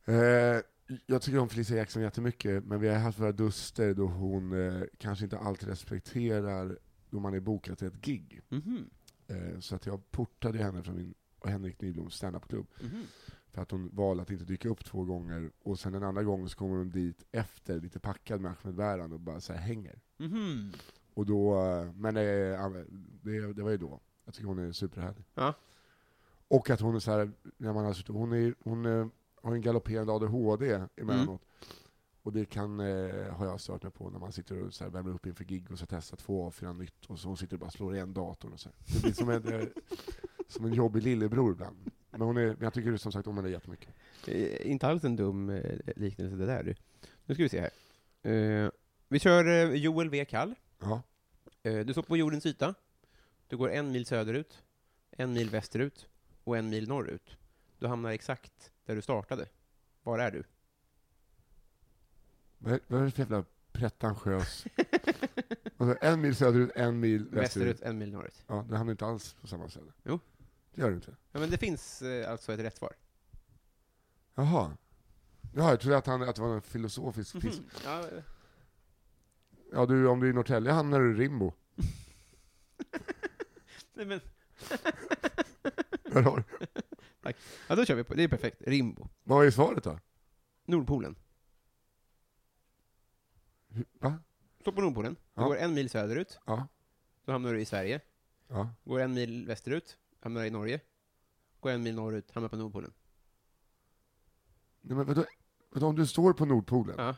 Speaker 2: Eh, jag tycker om Felicia Jackson jättemycket, men vi har haft våra duster då hon eh, kanske inte alltid respekterar då man är bokad till ett gig.
Speaker 1: Mhm.
Speaker 2: Eh, så att jag portade henne från min och Henrik Nybloms standupklubb,
Speaker 1: Mhm.
Speaker 2: för att hon valde att inte dyka upp två gånger, och sen den andra gången så kommer hon dit efter, lite packad med Ahmed Bäran och bara så här hänger.
Speaker 1: Mhm.
Speaker 2: Och då, eh, men eh, ja, det, det var ju då. Jag tycker hon är superhärlig.
Speaker 1: Ja.
Speaker 2: Och att hon är så här, när man har suttit, hon, är, hon eh, har en galopperande ADHD emellanåt.
Speaker 1: Mm.
Speaker 2: Och det kan, eh, har jag stört mig på, när man sitter och så här värmer upp inför gig och ska testa två A4 nytt, och så hon sitter och bara slår igen datorn och så här. Det blir som en, eh, som en jobbig lillebror ibland. Men, hon är, men jag tycker som sagt om henne jättemycket.
Speaker 1: Eh, inte alls en dum eh, liknelse det där du. Nu ska vi se här. Eh, vi kör eh, Joel V. Kall.
Speaker 2: Ja.
Speaker 1: Eh, du står på jordens yta. Du går en mil söderut, en mil västerut och en mil norrut. Du hamnar exakt där du startade. Var är du?
Speaker 2: Vad är- vad är det för jävla pretentiös... Alltså, en mil söderut, en mil västerut.
Speaker 1: västerut, en mil norrut.
Speaker 2: Ja, det hamnar inte alls på samma ställe.
Speaker 1: Jo.
Speaker 2: Det gör det inte.
Speaker 1: Ja, men det finns eh, alltså ett rätt svar.
Speaker 2: Jaha. Ja, jag trodde att, han, att det var en filosofisk piss.
Speaker 1: Ja, eh,
Speaker 2: Ja, du, om du är i Norrtälje hamnar du i Rimbo.
Speaker 1: Nej, men,
Speaker 2: Där har du.
Speaker 1: tack. Ja, då kör vi på. Det är perfekt. Rimbo.
Speaker 2: Vad är svaret då?
Speaker 1: Nordpolen.
Speaker 2: Va?
Speaker 1: Står på Nordpolen. Du
Speaker 2: Ja.
Speaker 1: går en mil söderut,
Speaker 2: Ja.
Speaker 1: då hamnar du i Sverige.
Speaker 2: ja.
Speaker 1: Går en mil västerut, hamnar du i Norge. Går en mil norrut, hamnar på Nordpolen.
Speaker 2: Nej, men vadå? Vadå, om du står på Nordpolen
Speaker 1: Ja.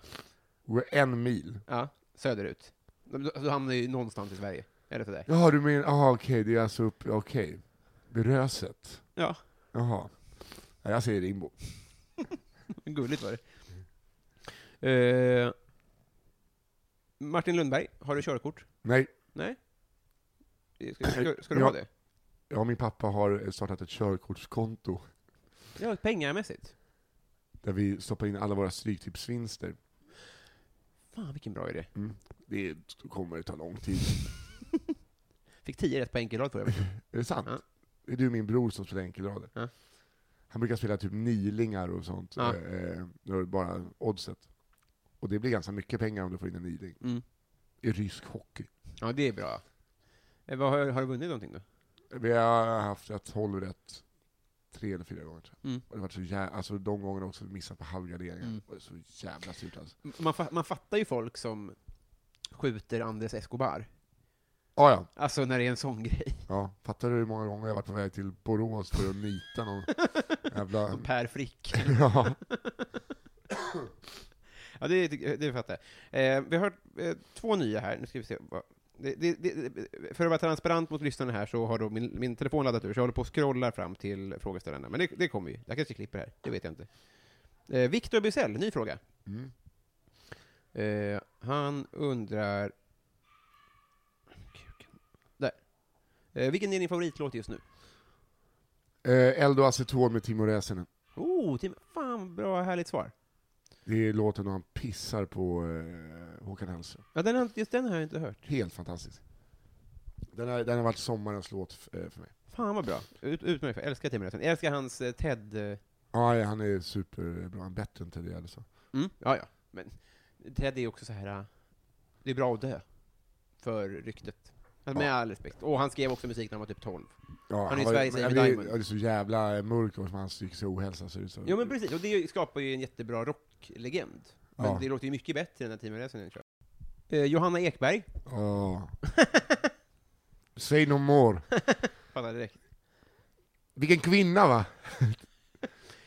Speaker 2: och går en mil.
Speaker 1: Ja, söderut. Då, då då hamnar du ju någonstans i Sverige. Eller för dig.
Speaker 2: Jaha, du menar, jaha okej, det är alltså upp, okej. Vid Röset.
Speaker 1: Ja,
Speaker 2: Jaha. Nej, jag säger Rimbo.
Speaker 1: gulligt var det. Eh, Martin Lundberg, har du körkort?
Speaker 2: Nej,
Speaker 1: Nej? Ska, ska, ska du
Speaker 2: Ja.
Speaker 1: ha det?
Speaker 2: jag och min pappa har eh, startat ett körkortskonto
Speaker 1: Ja, pengamässigt.
Speaker 2: där vi stoppar in alla våra stryktipsvinster.
Speaker 1: Fan, vilken bra idé.
Speaker 2: Det kommer ta lång tid.
Speaker 1: Fick 10 rätt på enkelrad förra veckan.
Speaker 2: Är det sant?
Speaker 1: Ja.
Speaker 2: Det är du och min bror som spelar enkelrader.
Speaker 1: Ja.
Speaker 2: Han brukar spela typ nilingar och sånt,
Speaker 1: Ja.
Speaker 2: eh, när det bara oddset. Och det blir ganska mycket pengar om du får in en niling.
Speaker 1: Mm.
Speaker 2: I rysk hockey.
Speaker 1: Ja, det är bra. Eh, vad, har, har du vunnit någonting då?
Speaker 2: Vi har haft rätt, tolv rätt, tre eller fyra gånger tror jag.
Speaker 1: Mm.
Speaker 2: Och det har varit så jävla, alltså de gångerna också missat på halvgarderingen.
Speaker 1: Mm.
Speaker 2: Och det är så jävla surt alltså.
Speaker 1: Man, fa- man fattar ju folk som skjuter Andres Escobar.
Speaker 2: Ah, ja,
Speaker 1: Alltså när det är en sån grej.
Speaker 2: ja. Fattar du hur många gånger jag har varit på väg till Borås för att nita någon jävla...
Speaker 1: Som Per Frick.
Speaker 2: ja.
Speaker 1: Ja, det, tycker- det fattar jag. Eh, vi har hört eh, två nya här. Nu ska vi se. vad- Det, det, det, för att vara transparent mot lyssnarna här så har då min, min telefon laddat ur, så jag håller på och scrollar fram till frågeställarna. Men det, det kommer ju. Jag kanske klipper här, det vet jag inte. Eh, Viktor Bysell, ny fråga.
Speaker 2: Mm.
Speaker 1: Eh, han undrar... Kuken. Där. Eh, vilken är din favoritlåt just nu?
Speaker 2: Eh, Eld och aceton med Timo Räsänen.
Speaker 1: Oh, Tim, fan bra härligt svar.
Speaker 2: Det är låten när han pissar på eh, Håkan Hellström.
Speaker 1: Ja, den, har- just den har jag inte hört.
Speaker 2: Helt fantastisk. Den har, den har varit sommarens låt f- eh, för mig.
Speaker 1: Fan vad bra. Ut, utmärkt. Jag älskar Tim Räsen. Jag älskar hans eh, TED... Eh,
Speaker 2: Ah, ja, han är superbra. Han är bättre än Teddy Gärdestad.
Speaker 1: Mm. Ja, ja. Men Ted är också så här. äh, det är bra att dö. För ryktet. Alltså, med
Speaker 2: Ja. Mm.
Speaker 1: all respekt. Och han skrev också musik när han var typ 12.
Speaker 2: Ja,
Speaker 1: är i
Speaker 2: var-
Speaker 1: Sveriges
Speaker 2: men-
Speaker 1: Amy
Speaker 2: det är-
Speaker 1: Diamond.
Speaker 2: ja, Det är så jävla mörkt och han tycker sig ohälsa. Så det är så.
Speaker 1: Jo men precis, och det skapar ju en jättebra rocklegend. Men
Speaker 2: Ja.
Speaker 1: det låter ju mycket bättre än när Timo Räsänen kör. Eh, Johanna Ekberg.
Speaker 2: Ja. Say no more.
Speaker 1: Fattar direkt.
Speaker 2: Vilken kvinna va?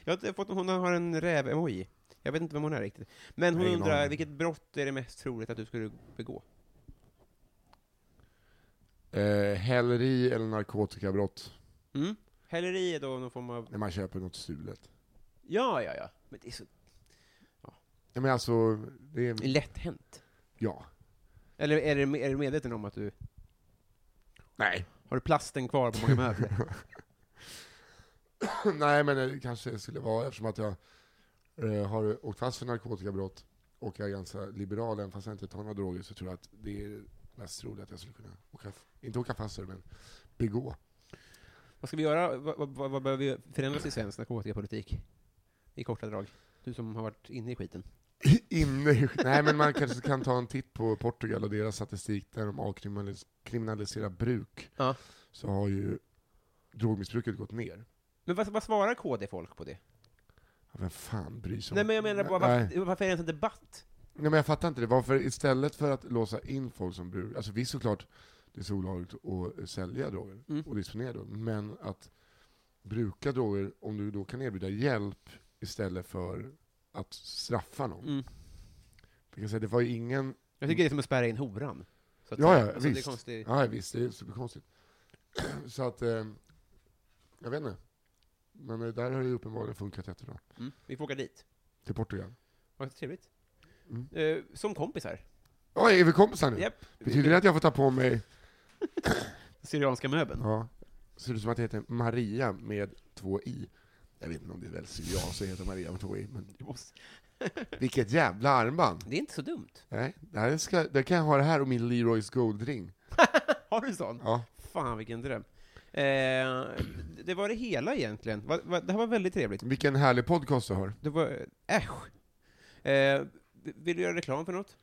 Speaker 1: Jag har inte fått, hon har en räv-emoji. Jag vet inte vem hon är riktigt. Men hon
Speaker 2: Nej, ingen
Speaker 1: undrar,
Speaker 2: aning.
Speaker 1: vilket brott är det mest troligt att du skulle begå?
Speaker 2: Eh, häleri eller narkotikabrott
Speaker 1: Mm? Häleri är då någon form av...
Speaker 2: när man köper något stulet.
Speaker 1: Ja, ja, ja. Men det är så
Speaker 2: Ja, men alltså, det är...
Speaker 1: lätt hänt.
Speaker 2: Ja.
Speaker 1: Eller är du, är du medveten om att du...
Speaker 2: Nej.
Speaker 1: Har du plasten kvar på många möbler?
Speaker 2: Nej, men det kanske skulle vara eftersom att jag eh, har åkt fast för narkotikabrott och jag är ganska liberal, även fast jag inte tar några droger, så tror jag att det är mest troligt att jag skulle kunna, åka, inte åka fast för det, men begå.
Speaker 1: vad ska vi göra? Vad, vad, vad vad behöver vi förändras i svensk narkotikapolitik? I korta drag. Du som har varit inne i skiten.
Speaker 2: Inne i, nej, men man kanske kan ta en titt på Portugal och deras statistik där de avkriminaliserar bruk,
Speaker 1: Ja.
Speaker 2: så har ju drogmissbruket gått ner.
Speaker 1: Men vad, vad svarar KD-folk på det?
Speaker 2: Ja, Vem fan bryr sig om
Speaker 1: Nej, men jag menar bara,
Speaker 2: Nej.
Speaker 1: varför, varför är det ens en debatt?
Speaker 2: Nej, men jag fattar inte det. Varför istället för att låsa in folk som brukar, alltså visst såklart, det är så olagligt att eh, sälja droger
Speaker 1: Mm.
Speaker 2: och disponera droger, men att bruka droger, om du då kan erbjuda hjälp istället för att straffa någon.
Speaker 1: Mm.
Speaker 2: Jag kan säga, det var ju ingen,
Speaker 1: Jag tycker det är som att spärra in horan. Så att
Speaker 2: Ja,
Speaker 1: säga.
Speaker 2: ja,
Speaker 1: Alltså, Det är
Speaker 2: visst.
Speaker 1: konstigt.
Speaker 2: ja visst, det är superkonstigt. Så att, eh, jag vet inte. Men eh, där har det ju uppenbarligen funkat jättebra.
Speaker 1: Mm. Vi får åka dit.
Speaker 2: Till Portugal.
Speaker 1: Vad trevligt.
Speaker 2: Mm.
Speaker 1: Eh, som kompisar.
Speaker 2: Oj, är vi kompisar nu?
Speaker 1: Japp.
Speaker 2: Betyder det att jag får ta på mig,
Speaker 1: Syrianska möbeln.
Speaker 2: ja, ser ut som att det heter Maria med två i. Jag vet inte om det är väl jag som heter Maria med två i, men
Speaker 1: Det måste-
Speaker 2: vilket jävla armband!
Speaker 1: Det är inte så dumt.
Speaker 2: Nej, det här ska, det kan jag ha det här och min Leroys guldring.
Speaker 1: Har du en sån?
Speaker 2: Ja.
Speaker 1: Fan vilken dröm. Eh, det var det hela egentligen. Va, va, det här var väldigt trevligt.
Speaker 2: Vilken härlig podcast du har.
Speaker 1: Det var, äsch. Eh, vill du göra reklam för något?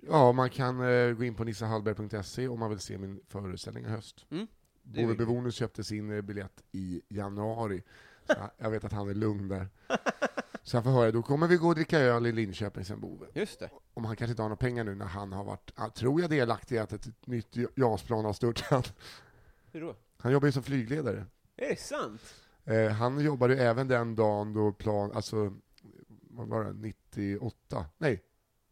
Speaker 2: Ja, man kan eh, gå in på nissahallberg.se om man vill se min föreställning i höst.
Speaker 1: Mm. Du-
Speaker 2: Ove Bevonius köpte sin eh, biljett i januari. Så jag- jag vet att han är lugn där. Så jag får höra, då kommer vi gå och dricka öl i Linköping sen Bove.
Speaker 1: Just det.
Speaker 2: Om han kanske inte har några pengar nu när han har varit, ah, tror jag, delaktig i att ett nytt JAS-plan har störtat.
Speaker 1: Hur då?
Speaker 2: Han jobbar ju som flygledare.
Speaker 1: Är det sant?
Speaker 2: Eh, han jobbade ju även den dagen då plan, alltså, vad var det, 98? Nej,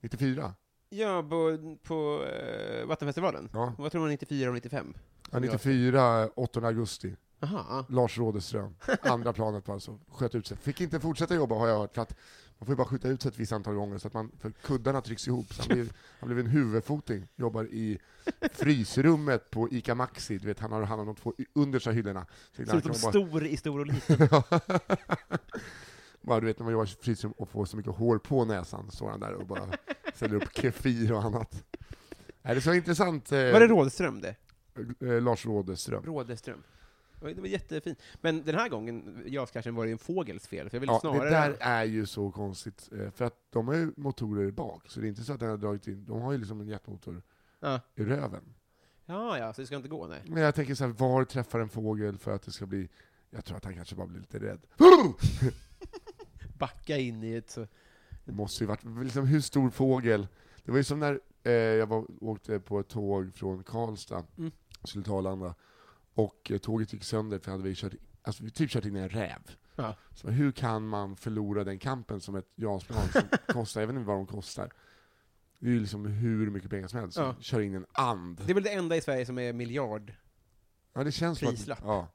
Speaker 2: 94?
Speaker 1: Ja, på, på eh, Vattenfestivalen.
Speaker 2: Ja,
Speaker 1: Vad tror man 94 och 95?
Speaker 2: ja 94, 8 augusti.
Speaker 1: Aha.
Speaker 2: Lars Rådeström, andra planet på alltså, sköt ut sig. Fick inte fortsätta jobba har jag hört, för att man får ju bara skjuta ut sig ett visst antal gånger, så att man, för kuddarna trycks ihop. Så han, blev, han blev en huvudfoting, jobbar i frysrummet på ICA Maxi, du vet, han har hand om de två understa hyllorna. Så
Speaker 1: Ser
Speaker 2: ibland
Speaker 1: ut som
Speaker 2: kan man
Speaker 1: stor i stor och liten.
Speaker 2: bara, bara, du vet, när man jobbar i frysrum och får så mycket hår på näsan, står han där och bara ställer upp kefir och annat. Nej, det är så intressant, eh,
Speaker 1: Var det Rådström det?
Speaker 2: eh, Lars Rådeström.
Speaker 1: Rådeström. Det var jättefint. Men den här gången, jaskaschen var det en fågels fel, för jag ville
Speaker 2: Ja,
Speaker 1: snarare...
Speaker 2: det där är ju så konstigt, eh, för att de har ju motorer bak, så det är inte så att den har dragit in, de har ju liksom en jetmotor
Speaker 1: Ja.
Speaker 2: i röven.
Speaker 1: ja, ja, så det ska inte gå, nej.
Speaker 2: Men jag tänker så här, var träffar en fågel för att det ska bli, jag tror att han kanske bara blir lite rädd.
Speaker 1: Backa in i ett... Så...
Speaker 2: Det måste ju varit, liksom hur stor fågel? Det var ju som när eh, jag var, åkte på ett tåg från Karlstad,
Speaker 1: Mm.
Speaker 2: skulle till Arlanda, och eh, tåget gick sönder för hade vi kört, alltså vi typ kört in i en räv.
Speaker 1: Ja.
Speaker 2: Så hur kan man förlora den kampen som ett JAS-plan som kostar, jag vet inte vad de kostar, det är ju liksom hur mycket pengar som helst,
Speaker 1: Ja.
Speaker 2: ja. kör in en and.
Speaker 1: Det är väl det enda i Sverige som är miljard.
Speaker 2: Ja, det känns som
Speaker 1: Prislapp.
Speaker 2: att... Ja.